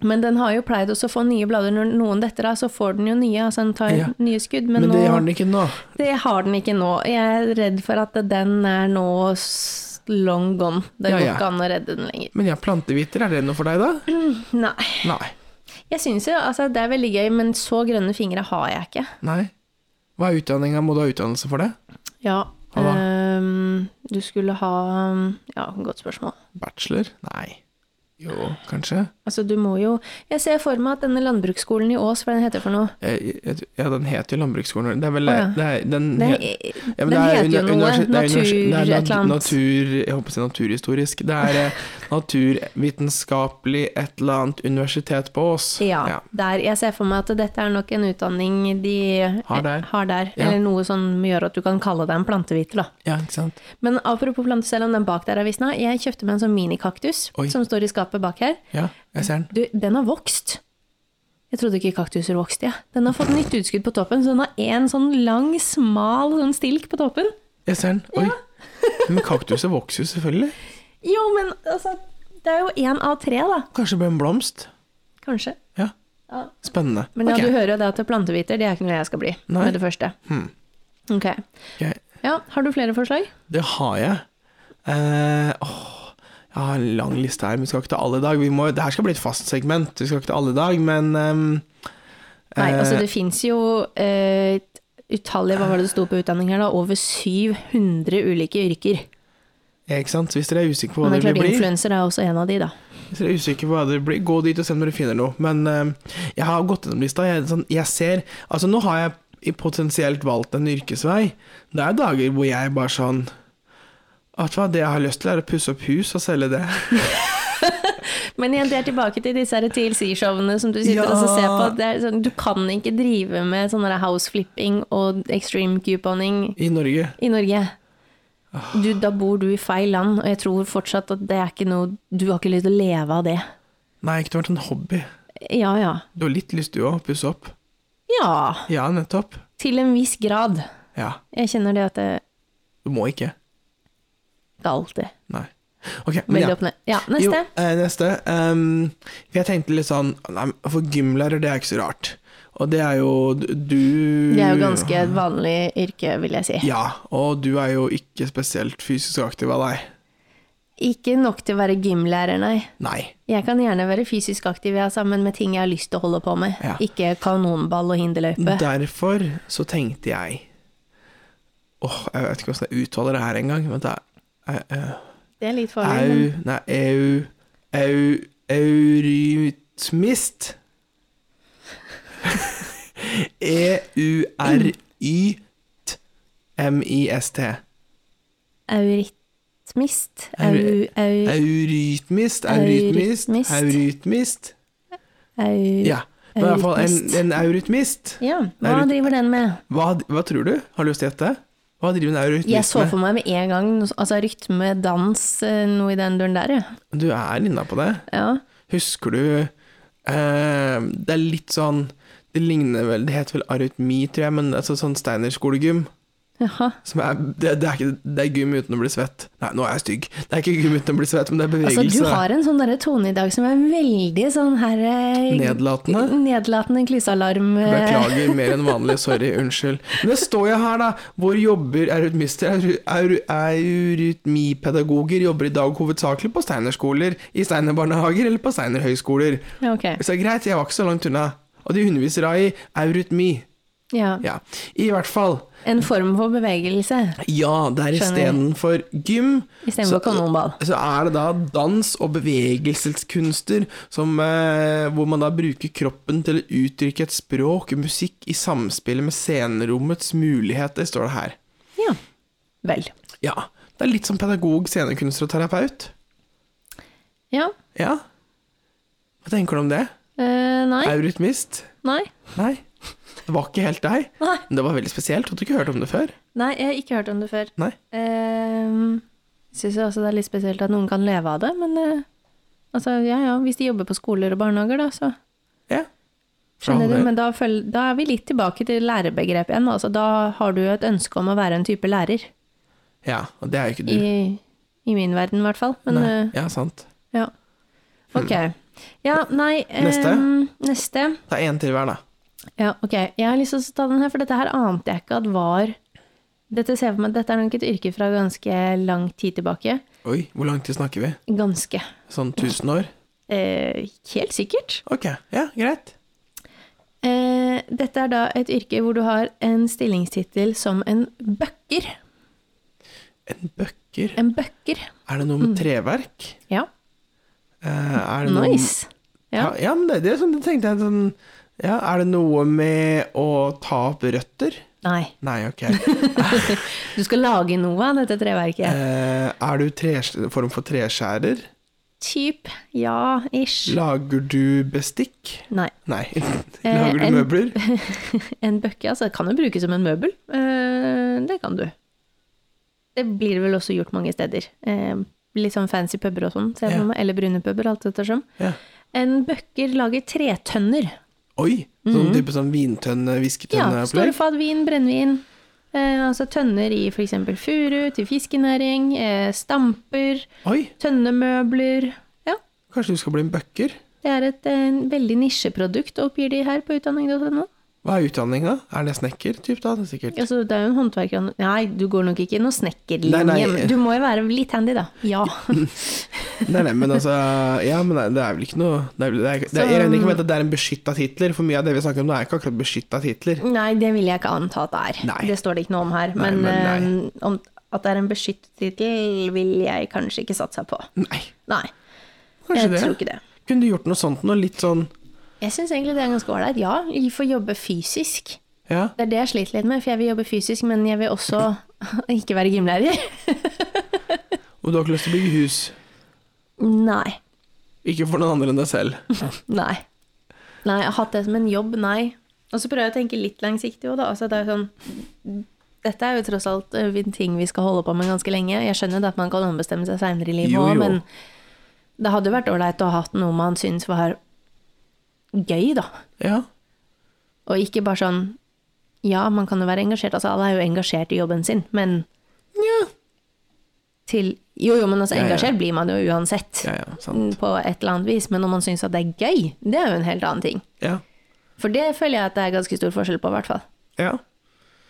B: Men den har jo pleid også å få nye blader. Når noen detter av, så får den jo nye. Altså den tar
A: Ja.
B: nye skudd. Men,
A: Men det
B: nå,
A: har den ikke nå.
B: det har den ikke nå. Jeg er redd for at den er nå s- long gone. Det
A: Ja,
B: går
A: ja.
B: ikke an å redde den lenger.
A: Men ja, planteviter, er det noe for deg, da?
B: Nei.
A: Nei.
B: Jeg syns jo altså det er veldig gøy, men så grønne fingre har jeg ikke.
A: Nei. Hva er utdanninga? Må du ha utdannelse for det?
B: Ja.
A: Hva da?
B: øhm, Ehm, du skulle ha Ja, godt spørsmål.
A: Bachelor? Nei. Jo, kanskje.
B: Altså, du må jo Jeg ser for meg at denne landbruksskolen i Ås, hva den heter for noe
A: Eh, jeg- Ja, den heter jo Landbruksskolen. Det er vel
B: Å, ja.
A: det er, den,
B: Den,
A: he-
B: ja,
A: Ja,
B: den
A: men det er
B: heter jo
A: uni-
B: noe.
A: universi- det er
B: natur,
A: universi- det er
B: et
A: nat-
B: eller annet.
A: Natur, jeg håper å si naturhistorisk. Det er eh, naturvitenskapelig et eller annet universitet på Ås.
B: Ja, der. Jeg ser for meg at dette er nok en utdanning de
A: Har der.
B: eh, har der,
A: Ja.
B: Eller noe som gjør at du kan kalle deg en plantehviter, da.
A: Ja, ikke sant.
B: Men apropos plante, selv om den bak der er visna, jeg kjøpte meg en sånn minikaktus
A: Oi.
B: som står i skapet bak her.
A: Ja, jeg ser den.
B: Du, den har vokst. Jeg trodde ikke kaktuser vokste, jeg. Den har fått nytt utskudd på toppen, så den har én sånn lang, smal sånn stilk på toppen.
A: Jeg ser den. Oi. Men kaktuser vokser jo selvfølgelig.
B: Jo, men altså Det er jo én av tre, da.
A: Kanskje det blir en blomst.
B: Kanskje.
A: Ja.
B: Ja.
A: Spennende.
B: Men ja,
A: Ok.
B: du hører jo det at planteviter, det er ikke noe jeg skal bli
A: Nei.
B: med det første.
A: Hmm.
B: Ok.
A: Ok.
B: Ja, har du flere forslag?
A: Det har jeg. Eh, åh, jeg har en lang liste her, men vi skal ikke ta alle i dag. Vi må, det her skal bli et fast segment, vi skal ikke ta alle i dag, men ehm,
B: Nei,
A: eh,
B: altså det fins jo eh, utallige, hva var det det sto på utdanning her da, over 700 ulike yrker.
A: ja, Ikke sant? Så Hvis dere er usikre på hva
B: Men det
A: det
B: er klart,
A: blir,
B: influenser er også en av de, da.
A: hvis dere er usikre på hva det blir, gå dit og se om dere finner noe. Men ehm, jeg har gått gjennom lista. Jeg, er sånn, jeg ser Altså, nå har jeg i- potensielt valgt en yrkesvei. Det er dager hvor jeg bare sånn Vet du hva, det jeg har lyst til, er å pusse opp hus og selge det.
B: Men igjen, det er tilbake til disse her TLC-showene som du sitter
A: Ja.
B: og så ser på. Det er sånn, du kan ikke drive med sånn der houseflipping og extreme couponing
A: I Norge.
B: i Norge.
A: Ah.
B: Du, da bor du i feil land, og jeg tror fortsatt at det er ikke noe Du har ikke lyst til å leve av det.
A: Nei, ikke det har vært en hobby.
B: Ja ja.
A: Du har litt lyst, du òg, pusse opp.
B: Ja,
A: Ja, nettopp.
B: til en viss grad.
A: Ja.
B: Jeg kjenner det at det
A: Du må ikke.
B: ikke alltid
A: Nei. Ok, men
B: veldig
A: ja.
B: opp ned. Ja,
A: Jo,
B: neste.
A: eh, neste. Ehm, for jeg tenkte litt sånn nei, men For gymlærer, det er ikke så rart. Og det er jo d- du
B: Det er jo ganske et vanlig yrke, vil jeg si.
A: Ja, og du er jo ikke spesielt fysisk aktiv av deg.
B: Ikke nok til å være gymlærer, nei.
A: Nei.
B: Jeg kan gjerne være fysisk aktiv jeg, altså, men med ting jeg har lyst til å holde på med.
A: Ja.
B: Ikke kanonball og hinderløype.
A: Derfor så tenkte jeg Åh, jeg vet ikke hvordan jeg uttaler det her engang. Vent, da. Eh, eh,
B: Det er litt farlig. men-
A: Au Nei, au Au Eurytmist. E-u-r-y-t-m-i-s-t.
B: Eurytmist. Au,
A: Au-
B: au,
A: Eurytmist, eurytmist,
B: Eurytmist.
A: eurytmist.
B: au. Ja.
A: Ja. Men i hvert fall en,
B: Eurytmist.
A: en eurytmist.
B: Hva
A: Euryt-
B: driver den med?
A: Hva, hva tror du? Har du lyst til å gjette? Hva driver en eurytmist
B: Jeg så
A: med?
B: for meg med en gang noe så- altså rytme, dans, eh, noe i den duren der, ja.
A: Du er inna på det.
B: ja.
A: Husker du eh, Det er litt sånn Det ligner vel Det heter vel arytmi, tror jeg, men altså sånn steinerskolegym.
B: Jaha.
A: Som er, det, det, er ikke, det er gym uten å bli svett. Nei, nå er jeg stygg. Det er ikke gym uten å bli svett, men det er bevegelse.
B: Altså, du har en sånn derre tone i dag som er veldig sånn her eh,
A: Nedlatende.
B: Nedlatende klysealarm. eh,
A: Beklager mer enn vanlig, sorry, unnskyld. Men det står jo her, da. Hvor jobber eurytmister? Eury- eury- Eurytmipedagoger jobber i dag hovedsakelig på Steinerskoler, i Steinerbarnehager eller på Steinerhøyskoler.
B: Ja, eh, ok.
A: Så greit, jeg var ikke så langt unna. Og de underviser da i eurytmi.
B: Ja.
A: Ja. I hvert fall.
B: En form for bevegelse
A: Ja, det er
B: Skjønner.
A: istedenfor gym.
B: istedenfor
A: Så-
B: kanonball.
A: Så er det da dans og bevegelseskunster som, eh, hvor man da bruker kroppen til å uttrykke et språk, musikk, i samspillet med scenerommets muligheter, står det her.
B: Ja. Vel.
A: Ja, det er litt som pedagog, scenekunstner og terapeut.
B: Ja.
A: Ja. Hva tenker du om det?
B: Eh, nei.
A: Eurytmist?
B: Nei.
A: Nei. Det var ikke helt deg.
B: Nei.
A: Men det var veldig spesielt. Hadde du ikke hørt om det før?
B: Nei, jeg har ikke hørt om det før.
A: Nei.
B: Uh, Syns også det er litt spesielt at noen kan leve av det, men eh, altså, ja ja, hvis de jobber på skoler og barnehager, da, så
A: Ja.
B: skjønner du. Men da, føl da er vi litt tilbake til lærerbegrepet igjen. Altså, da har du jo et ønske om å være en type lærer.
A: Ja, og det er jo ikke du.
B: I, i min verden, i hvert fall. Men
A: Nei.
B: eh,
A: Ja, sant.
B: ja. Ok. Ja, nei eh,
A: Neste?
B: neste.
A: Ta én til hver, da.
B: Ja, ok. Jeg har lyst til å ta den her, for dette her ante jeg ikke at var Dette ser jeg for meg, dette er nok et yrke fra ganske lang tid tilbake.
A: Oi, hvor lang tid snakker vi?
B: Ganske.
A: Sånn 1000 år?
B: Eh, helt sikkert.
A: Ok, ja, greit.
B: Eh, dette er da et yrke hvor du har en stillingstittel som en bøkker.
A: En bøkker?
B: En bøkker.
A: Er det noe
B: Mm.
A: med treverk?
B: Ja.
A: Eh, er det noe
B: Nice.
A: Ja,
B: Ja.
A: ja men det, det, er sånn, det tenkte jeg sånn ja, Er det noe med å ta opp røtter?
B: Nei.
A: Nei, ok.
B: Du skal lage noe av dette treverket.
A: Eh, er du tre, form for treskjærer?
B: Typ. Ja, ish.
A: Lager du bestikk?
B: Nei.
A: Nei. Lager du
B: Eh, en-
A: møbler?
B: En bøkke, altså. Kan jo brukes som en møbel. Eh, det kan du. Det blir vel også gjort mange steder. Eh, litt sånn fancy puber og sånn, ser jeg
A: Ja.
B: for meg. Eller brune puber, alt ettersom.
A: Ja.
B: En bøkker lager tretønner.
A: Oi! Sånn type sånn vintønne,
B: Mm. Ja, står
A: eh,
B: det
A: visketønne-opplegg?
B: for at vin, brennevin, eh, altså tønner i f.eks. furu til fiskenæring, eh, stamper,
A: Oi,
B: tønnemøbler Ja,
A: kanskje du skal bli en bøkker?
B: det er et eh, veldig nisjeprodukt, oppgir de her på utdanning.no.
A: Hva er utdanninga? Er det snekker? Typ, da? Sikkert.
B: Altså, det er jo en håndverker Nei, du går nok ikke i noe snekkerlinje,
A: Nei, nei.
B: men du må jo være litt handy, da. Ja.
A: Nei, nei, men altså Ja, men det er vel ikke noe det er, vel- det er, det er, Jeg regner ikke med at det er en beskytta titler, for mye av det vi snakker om nå, er ikke akkurat beskytta titler.
B: Nei, det vil jeg ikke anta at det er.
A: Nei.
B: Det står det ikke noe om her.
A: Nei,
B: men
A: men
B: eh, om, at det er en beskyttet tittel, vil jeg kanskje ikke satse på.
A: Nei,
B: Nei,
A: kanskje
B: jeg
A: det.
B: tror ikke det.
A: Kunne du gjort noe sånt noe? Litt sånn
B: Jeg syns egentlig det er ganske ålreit. Ja, vi får jobbe fysisk.
A: Ja.
B: Det er det jeg sliter litt med, for jeg vil jobbe fysisk, men jeg vil også ikke være gymlærer.
A: Og du har ikke lyst til å bygge hus?
B: Nei.
A: Ikke for noen andre enn deg selv.
B: Nei. Nei, jeg har hatt det som en jobb, nei. Og så prøver jeg å tenke litt langsiktig òg, da. Altså, det er jo sånn Dette er jo tross alt eh, en ting vi skal holde på med ganske lenge. Jeg skjønner det at man kan ombestemme seg seinere i livet
A: Jo,
B: òg,
A: jo.
B: men det hadde jo vært ålreit å ha hatt noe man syns var gøy, da.
A: Ja.
B: Og ikke bare sånn Ja, man kan jo være engasjert. Altså, alle er jo engasjert i jobben sin, men
A: Ja,
B: til Jo, jo, men altså,
A: Ja, ja.
B: engasjert blir man jo uansett. mm,
A: ja, ja sant.
B: På et eller annet vis. Men om man syns at det er gøy, det er jo en helt annen ting.
A: Ja.
B: For det føler jeg at det er ganske stor forskjell på, i hvert fall.
A: ja.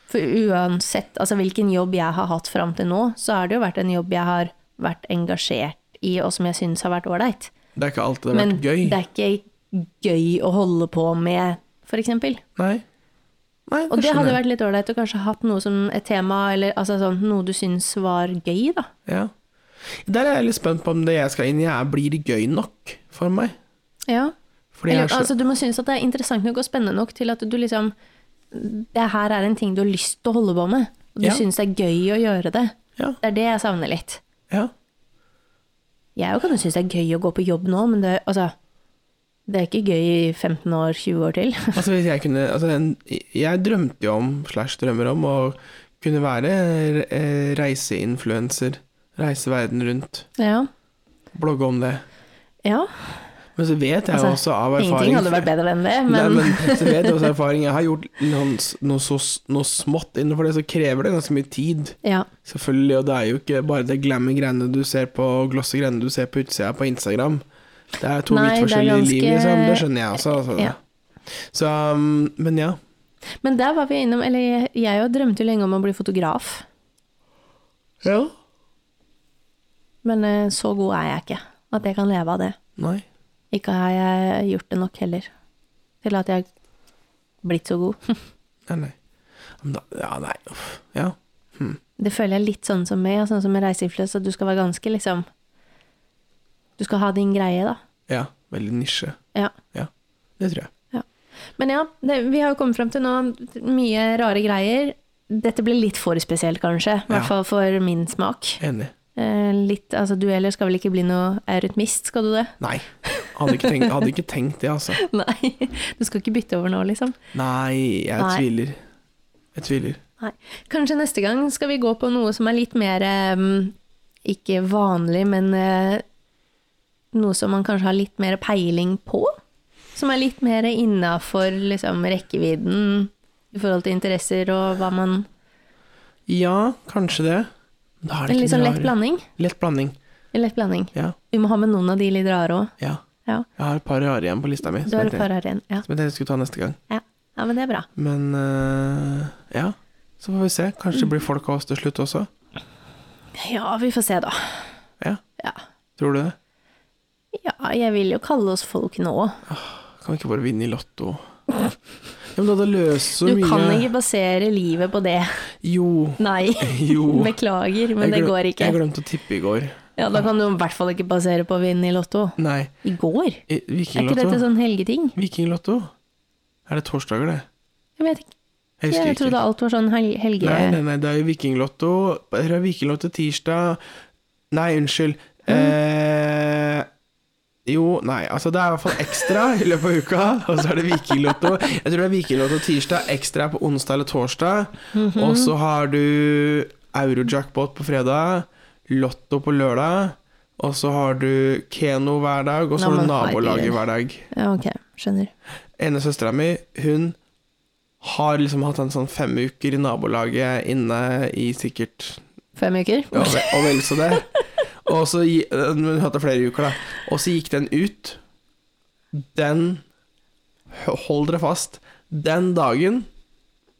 B: For uansett altså, hvilken jobb jeg har hatt fram til nå, så har det jo vært en jobb jeg har vært engasjert i, og som jeg syns har vært ålreit.
A: Det er ikke alltid det har
B: Men
A: vært gøy.
B: det er ikke gøy å holde på med, f.eks.
A: Nei. Nei,
B: Og det
A: skjønner
B: hadde
A: jeg.
B: vært litt ålreit å kanskje hatt noe som et tema, eller altså sånn, noe du syns var gøy, da.
A: ja. Der er jeg litt spent på om det jeg skal inn i, er blir det gøy nok for meg.
B: Ja.
A: Fordi jeg
B: Eller,
A: er så
B: altså, du må synes at det er interessant nok og spennende nok til at du liksom Det her er en ting du har lyst til å holde på med, og du
A: Ja.
B: syns det er gøy å gjøre det.
A: Ja.
B: Det er det jeg savner litt.
A: ja.
B: Jeg kan jo synes det er gøy å gå på jobb nå, men det, altså, det er ikke gøy i 15 år, 20 år til.
A: Altså hvis jeg kunne altså, en, Jeg drømte jo om, slash drømmer om, å kunne være eh, reiseinfluenser. Reise verden rundt.
B: Ja.
A: Blogge om det.
B: ja.
A: Men så vet jeg jo
B: Altså,
A: også av
B: Ingenting
A: erfaring
B: hadde vært bedre enn det,
A: Nei,
B: men,
A: men så vet jeg også av erfaring Jeg har gjort noen, s- noe, så, s- noe smått innenfor det, så krever det ganske mye tid.
B: ja.
A: Selvfølgelig, og det er jo ikke bare det glamme greiene du ser på glosse greiene du ser på utsida på Instagram. Det er to
B: Nei,
A: vidt
B: det er
A: forskjellige liv,
B: ganske-
A: liksom. Det skjønner jeg også. Altså.
B: Ja.
A: Så, um, men ja.
B: Men der var vi innom Eller jeg- jeg jo drømte jo lenge om å bli fotograf,
A: Ja.
B: men eh, så god er jeg ikke at jeg kan leve av det.
A: Nei.
B: Ikke har jeg gjort det nok heller til at jeg har blitt så god.
A: Nei, nei. Men da, ja, nei. Uff. Ja.
B: Det føler jeg litt sånn som meg, og sånn som med reiseinfluens, at du skal være ganske liksom Du skal ha din greie, da.
A: ja. Veldig nisje.
B: Ja.
A: Ja. Det tror jeg.
B: Men ja, det, vi har jo kommet fram til nå mye rare greier. Dette ble litt for spesielt, kanskje. I
A: Ja.
B: hvert fall for min smak.
A: Enig.
B: Eh, litt, altså Dueller skal vel ikke bli noe eurytmist, skal du det?
A: Nei. Hadde ikke tenkt, hadde ikke tenkt det, altså.
B: Nei. Du skal ikke bytte over nå, liksom.
A: Nei, jeg
B: Nei.
A: tviler. Jeg tviler.
B: Nei. Kanskje neste gang skal vi gå på noe som er litt mer eh, Ikke vanlig, men eh, noe som man kanskje har litt mer peiling på? Som er litt mer innafor liksom, rekkevidden i forhold til interesser og hva man
A: Ja, kanskje det. Men Da er
B: En
A: det ikke
B: litt sånn
A: noe
B: lett
A: rare.
B: blanding.
A: Lett blanding.
B: En lett blanding.
A: Ja.
B: Vi må ha med noen av de litt rare òg.
A: ja.
B: Ja.
A: Jeg har et par rare igjen på lista mi,
B: Du
A: som
B: har
A: jeg
B: et par her igjen. Ja.
A: som jeg tenkte jeg skulle ta neste gang.
B: ja. Ja, men det er bra.
A: Men eh, ja, så får vi se. Kanskje det blir folk av oss til slutt også.
B: Ja, vi får se, da.
A: Ja,
B: Ja.
A: tror du det?
B: ja, jeg vil jo kalle oss folk nå.
A: Kan vi ikke bare vinne i Lotto? Ja, men da hadde løst så
B: Du
A: mye
B: kan ikke basere livet på det.
A: Jo.
B: Nei.
A: Jo.
B: Beklager, men
A: Jeg
B: det
A: glem-
B: går ikke.
A: Jeg glemte å tippe i går.
B: Ja, Da kan du i hvert fall ikke basere på å vinne i Lotto.
A: Nei,
B: I går?
A: i-
B: Er ikke
A: Vikinglotto.
B: dette sånn helgeting?
A: Vikinglotto? Er det torsdager, det?
B: Jeg vet ikke.
A: Jeg husker
B: Jeg
A: ikke.
B: trodde alt var sånn hel helge...
A: Nei, nei, nei, det er jo Vikinglotto. Det er Vikinglotto tirsdag Nei, unnskyld.
B: Mm.
A: Eh, jo, nei, altså det er i hvert fall ekstra i løpet av uka. Og så er det Vikinglotto. Jeg tror det er Vikinglotto tirsdag, ekstra på onsdag eller torsdag.
B: Mhm.
A: Og så har du Eurojackpot på fredag, Lotto på lørdag. Og så har du Keno hver dag, og så
B: Nei,
A: har du
B: men
A: nabolaget
B: herregud.
A: hver dag.
B: Ja, ok. Skjønner.
A: Ene søstera mi, hun har liksom hatt en sånn fem uker i nabolaget inne i sikkert
B: Fem uker?
A: ja, ve- Og vel så det. Og så gi- øh, Hun hadde flere uker, da. Og så gikk den ut. Den Hold dere fast. Den dagen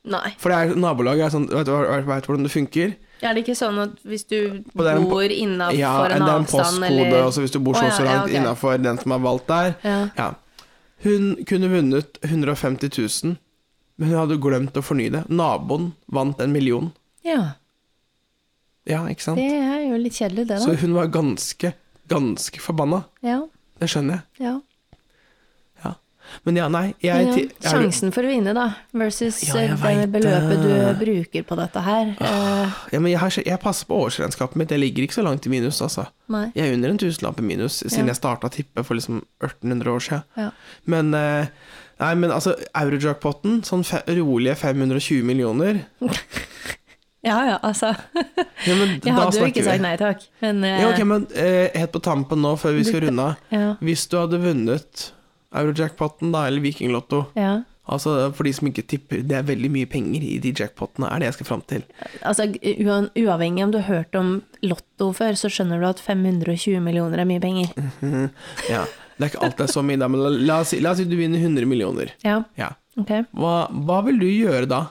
B: Nei.
A: For det er, nabolaget er sånn Vet du hva- vet du hvordan det funker?
B: Er det ikke sånn at hvis du
A: På den-
B: bor innafor
A: Ja, det
B: en
A: er en
B: avstand
A: postkode,
B: eller
A: og så hvis du bor så,
B: Å, ja,
A: og så
B: ja,
A: langt
B: ok.
A: innafor den som er valgt der,
B: ja.
A: Ja. Hun kunne vunnet 150 000, men hun hadde glemt å fornye det. Naboen vant en million.
B: ja.
A: Ja, ikke sant?
B: Det er jo litt kjedelig, det,
A: Så
B: da.
A: hun var ganske, ganske forbanna.
B: Ja.
A: Det skjønner jeg.
B: ja.
A: Men ja, nei. Jeg,
B: Men ja,
A: ti- er du-
B: Sjansen for å vinne, da, versus
A: Ja, jeg
B: eh, det
A: vet eh. Ah.
B: beløpet du
A: det.
B: bruker på dette her. Eh,
A: ja, men jeg, har, ikke- jeg passer på årsregnskapet mitt. Jeg ligger ikke så langt i minus, altså.
B: nei.
A: Jeg er under en tusenlapp i minus
B: Ja.
A: siden jeg starta å tippe for liksom 1800 år siden.
B: Ja.
A: Men, eh, nei, men altså, eurojackpoten, sånn fe rolige 520 millioner
B: ja ja, altså.
A: ja, men,
B: Jeg
A: da
B: hadde jo
A: snakker
B: ikke
A: vi.
B: sagt nei takk, men eh,
A: Ja, ok, men eh, helt på tampen nå, før vi skal runde av.
B: ja,
A: Hvis du hadde vunnet Eurojackpotten, da, eller Vikinglotto
B: ja.
A: Altså, For de som ikke tipper, det er veldig mye penger i de jackpottene, er det jeg skal fram til.
B: Altså, uan- uavhengig om du har hørt om Lotto før, så skjønner du at 520 millioner er mye
A: Mm.
B: penger.
A: Ja, Det er ikke alt det er så mye, da, men la, la, oss, si- la oss si du vinner 100 millioner.
B: Ja,
A: Ja.
B: ok.
A: Hva, hva vil du gjøre da?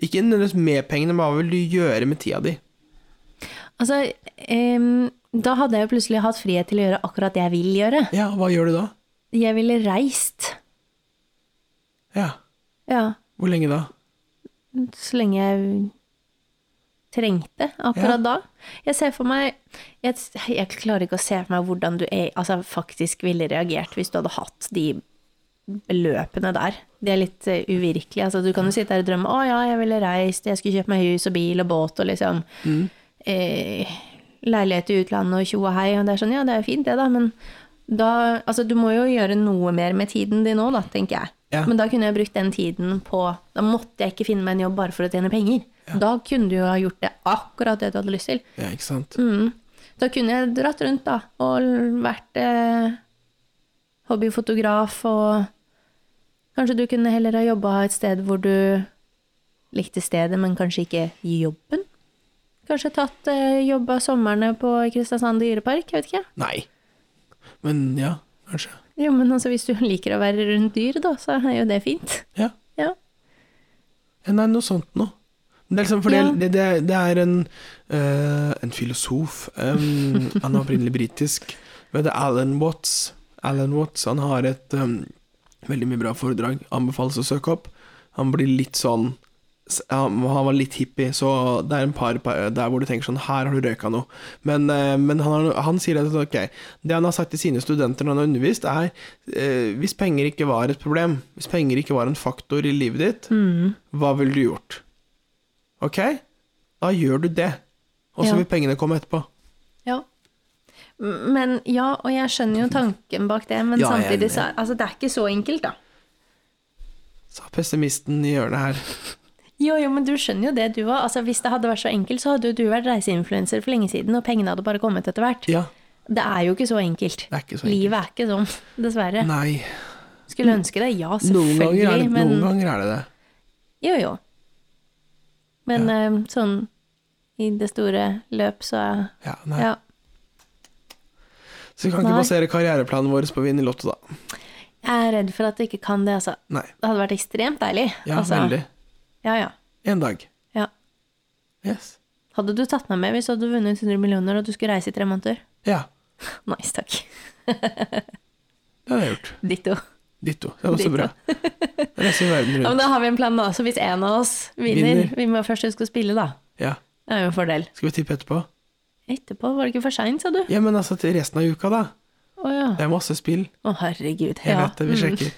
A: Ikke nødvendigvis med pengene, men hva vil du gjøre med tida di?
B: Altså, em, da hadde jeg jo plutselig hatt frihet til å gjøre akkurat det jeg vil gjøre.
A: Ja, hva gjør du da?
B: Jeg ville reist.
A: Ja,
B: Ja,
A: Hvor lenge da?
B: så lenge jeg trengte akkurat da. Jeg ser for meg jeg, jeg klarer ikke å se for meg hvordan du er, altså, faktisk ville reagert hvis du hadde hatt de beløpene der. Det er litt eh, uvirkelig. Altså, du kan jo sitte her og drømme 'Å ja, jeg ville reist, jeg skulle kjøpt meg hus og bil og båt' og liksom eh, Leilighet i utlandet og tjo og hei, og det er sånn Ja, det er jo fint, det, da, men da Altså, du må jo gjøre noe mer med tiden din nå, da, tenker jeg.
A: Ja.
B: Men da kunne jeg brukt den tiden på Da måtte jeg ikke finne meg en jobb bare for å tjene penger. Da kunne du jo ha gjort det akkurat det du hadde lyst til.
A: Ja, ikke sant?
B: Da kunne jeg dratt rundt, da, og vært eh, hobbyfotograf, og kanskje du kunne heller ha jobba et sted hvor du likte stedet, men kanskje ikke jobben? Kanskje tatt eh, jobba somrene på Kristiansand dyrepark, jeg vet ikke.
A: Nei. Men ja, kanskje.
B: Jo, men altså, hvis du liker å være rundt dyr, da, så er jo det fint.
A: Ja.
B: Ja.
A: Ja, Eh, Nei, noe sånt noe. Det er liksom fordi
B: Ja.
A: det, det, det er en, eh, en filosof em, Han er opprinnelig britisk, men det er Alan Watts. Alan Watts han har et em, veldig mye bra foredrag. Anbefales å søke opp. Han blir litt sånn s- han, han var litt hippie, så det er en par på ø der hvor du tenker sånn Her har du røyka noe. Men, eh, men han, har, han sier at ok, det han har sagt til sine studenter når han har undervist, er eh, hvis penger ikke var et problem, hvis penger ikke var en faktor i livet ditt, hva ville du gjort? Ok, da gjør du det. Og så
B: Ja.
A: vil pengene komme etterpå.
B: Ja. M- Men ja, og jeg skjønner jo tanken bak det, men
A: Ja, jeg er
B: samtidig
A: enig.
B: så er- Altså, det er ikke så enkelt, da.
A: Sa pessimisten i hjørnet her.
B: Jo, jo, men du skjønner jo det, du òg. Altså, hvis det hadde vært så enkelt, så hadde jo du vært reiseinfluenser for lenge siden, og pengene hadde bare kommet etter hvert.
A: Ja,
B: Det er jo ikke så enkelt.
A: det er ikke så enkelt.
B: Livet er ikke sånn, dessverre.
A: Nei,
B: Skulle ønske det, ja,
A: noen ganger, er det,
B: selvfølgelig, men
A: noen ganger er det det.
B: Jo, jo. Men eh, sånn i det store løp, så er-
A: Ja, nei.
B: Ja.
A: Så vi kan ikke
B: Nei.
A: basere karriereplanen vår på å vinne i Lotto, da.
B: Jeg er redd for at jeg ikke kan det, altså.
A: Nei.
B: Det hadde vært ekstremt deilig.
A: Ja,
B: altså.
A: veldig.
B: Ja, ja.
A: En dag.
B: ja.
A: Yes.
B: Hadde du tatt meg med hvis du hadde vunnet 100 millioner og du skulle reise i tre måneder?
A: Ja,
B: Nice, takk.
A: det har jeg gjort.
B: Ditto.
A: Ditto. Det var så bra. Reise verden
B: Ja, men
A: rundt.
B: da har vi en plan, da. Så hvis en av oss vinner,
A: Vinner.
B: Vi må først huske å spille, da.
A: Ja.
B: Det er jo en fordel.
A: Skal vi tippe etterpå?
B: Etterpå var det ikke for seint, sa du?
A: Ja, men altså til resten av uka, da.
B: Å ja.
A: Det er masse spill.
B: Å herregud.
A: Jeg
B: ja. Mm.
A: vet det, vi sjekker.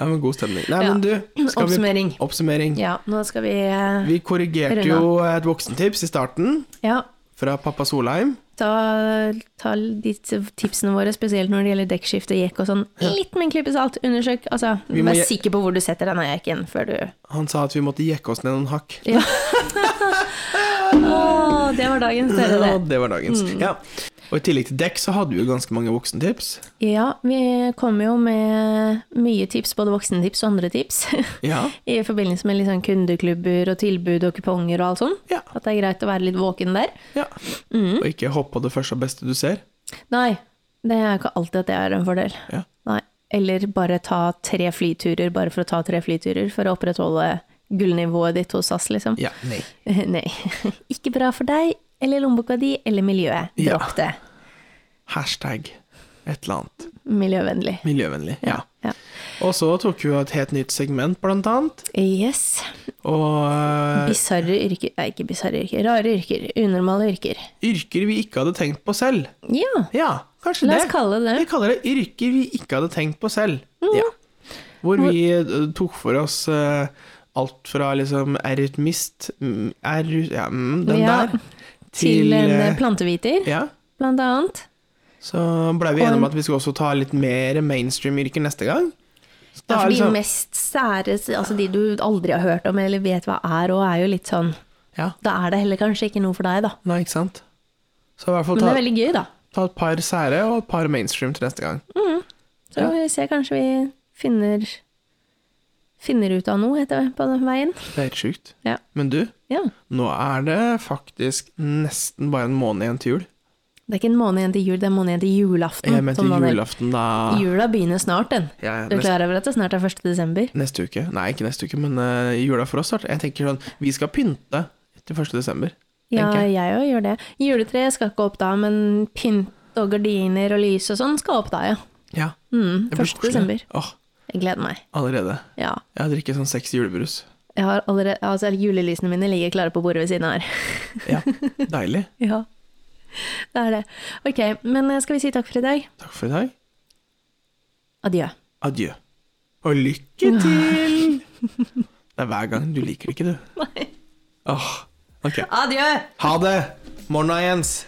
A: Ja, men god stemning. Nei,
B: Ja.
A: men du. skal vi-
B: Oppsummering.
A: Oppsummering.
B: Ja, nå skal vi eh,
A: Vi korrigerte
B: Runa.
A: jo et voksentips i starten,
B: Ja,
A: fra pappa Solheim.
B: ta, ta de tipsene våre, spesielt når det gjelder dekkskifte, jekk og sånn. Litt med en klype salt. Undersøk. Altså,
A: Vi må
B: vær
A: je-
B: sikker på hvor du setter denne jekken før du
A: Han sa at vi måtte jekke oss ned noen hakk.
B: ja. Å, det var dagens dere, det. Mm.
A: Ja, det var dagens. Ja. Og i tillegg til dekk så hadde vi jo ganske mange voksentips.
B: Ja, vi kommer jo med mye tips, både voksentips og andre tips.
A: Ja.
B: I forbindelse med litt sånn kundeklubber og tilbud og kuponger og alt sånn.
A: Ja.
B: At det er greit å være litt våken der.
A: ja.
B: Mm.
A: Og ikke hopp på det første og beste du ser.
B: Nei, det er ikke alltid at det er en fordel.
A: Ja.
B: Nei. Eller bare ta tre flyturer bare for å ta tre flyturer, for å opprettholde gullnivået ditt hos SAS, liksom.
A: Ja, nei.
B: Nei. Ikke bra for deg, eller lommeboka di, eller miljøet.
A: Ja.
B: Dropp det.
A: Hashtag et eller annet.
B: Miljøvennlig.
A: Miljøvennlig. Ja.
B: Ja.
A: Og så tok vi jo et helt nytt segment, blant annet.
B: Yes.
A: Og øh,
B: Bisarre yrker Nei, ikke bisarre yrker. Rare yrker. Unormale yrker.
A: yrker vi ikke hadde tenkt på selv.
B: Ja.
A: Ja, kanskje
B: La oss
A: det.
B: kalle det det.
A: Vi kaller det yrker vi ikke hadde tenkt på selv.
B: Mm.
A: Ja. Hvor vi eh, tok for oss eh, alt fra liksom erutmist, mm, eru- ja, mm, den
B: Ja,
A: der,
B: Til,
A: til
B: en
A: eh,
B: planteviter,
A: Ja.
B: blant annet.
A: Så blei vi
B: Og en-
A: enige om at vi skal også ta litt mer mainstream-yrker neste gang. Så
B: Ja,
A: da
B: for
A: er
B: de
A: liksom,
B: mest sære, altså de du aldri har hørt om eller vet hva er, og er jo litt sånn
A: ja,
B: Da er det heller kanskje ikke noe for deg, da.
A: nei, ikke sant. Så i hvert fall
B: Men det
A: ta,
B: er veldig gøy, da.
A: ta et par sære og et par mainstream til neste gang.
B: Så vi ser kanskje vi finner Finner ut av noe etter på den veien.
A: Det er helt sjukt.
B: Ja.
A: Men du,
B: ja.
A: nå er det faktisk nesten bare en måned igjen til jul.
B: Det er ikke en måned igjen til jul, det er en måned igjen til julaften.
A: Jeg mente
B: som man-
A: julaften, da.
B: Jula begynner snart, den.
A: Ja, ja,
B: Du er
A: neste-
B: klar over at det snart er 1. desember?
A: Neste uke? Nei, ikke neste uke, men eh, jula for oss snart. Jeg tenker sånn, vi skal pynte til 1. desember.
B: Ja,
A: tenker jeg.
B: jeg òg gjør det. Juletreet skal ikke opp da, men pynt og gardiner og lys og sånn skal opp da, ja.
A: Ja,
B: Mm, 1.
A: det blir koselig.
B: desember.
A: Åh,
B: Jeg gleder meg.
A: allerede.
B: Ja.
A: Jeg drikker sånn seks julebrus.
B: Jeg har allerede, altså, julelysene mine ligger klare på bordet ved siden av her.
A: Ja, deilig.
B: ja. Det er det. Ok, men eh, skal vi si takk for i dag?
A: Takk for i dag.
B: Adjø.
A: Adjø. Og lykke til! Det er hver gang. Du liker det ikke, du. Nei. Åh, ok.
B: Adjø!
A: Ha det! Morna, Jens.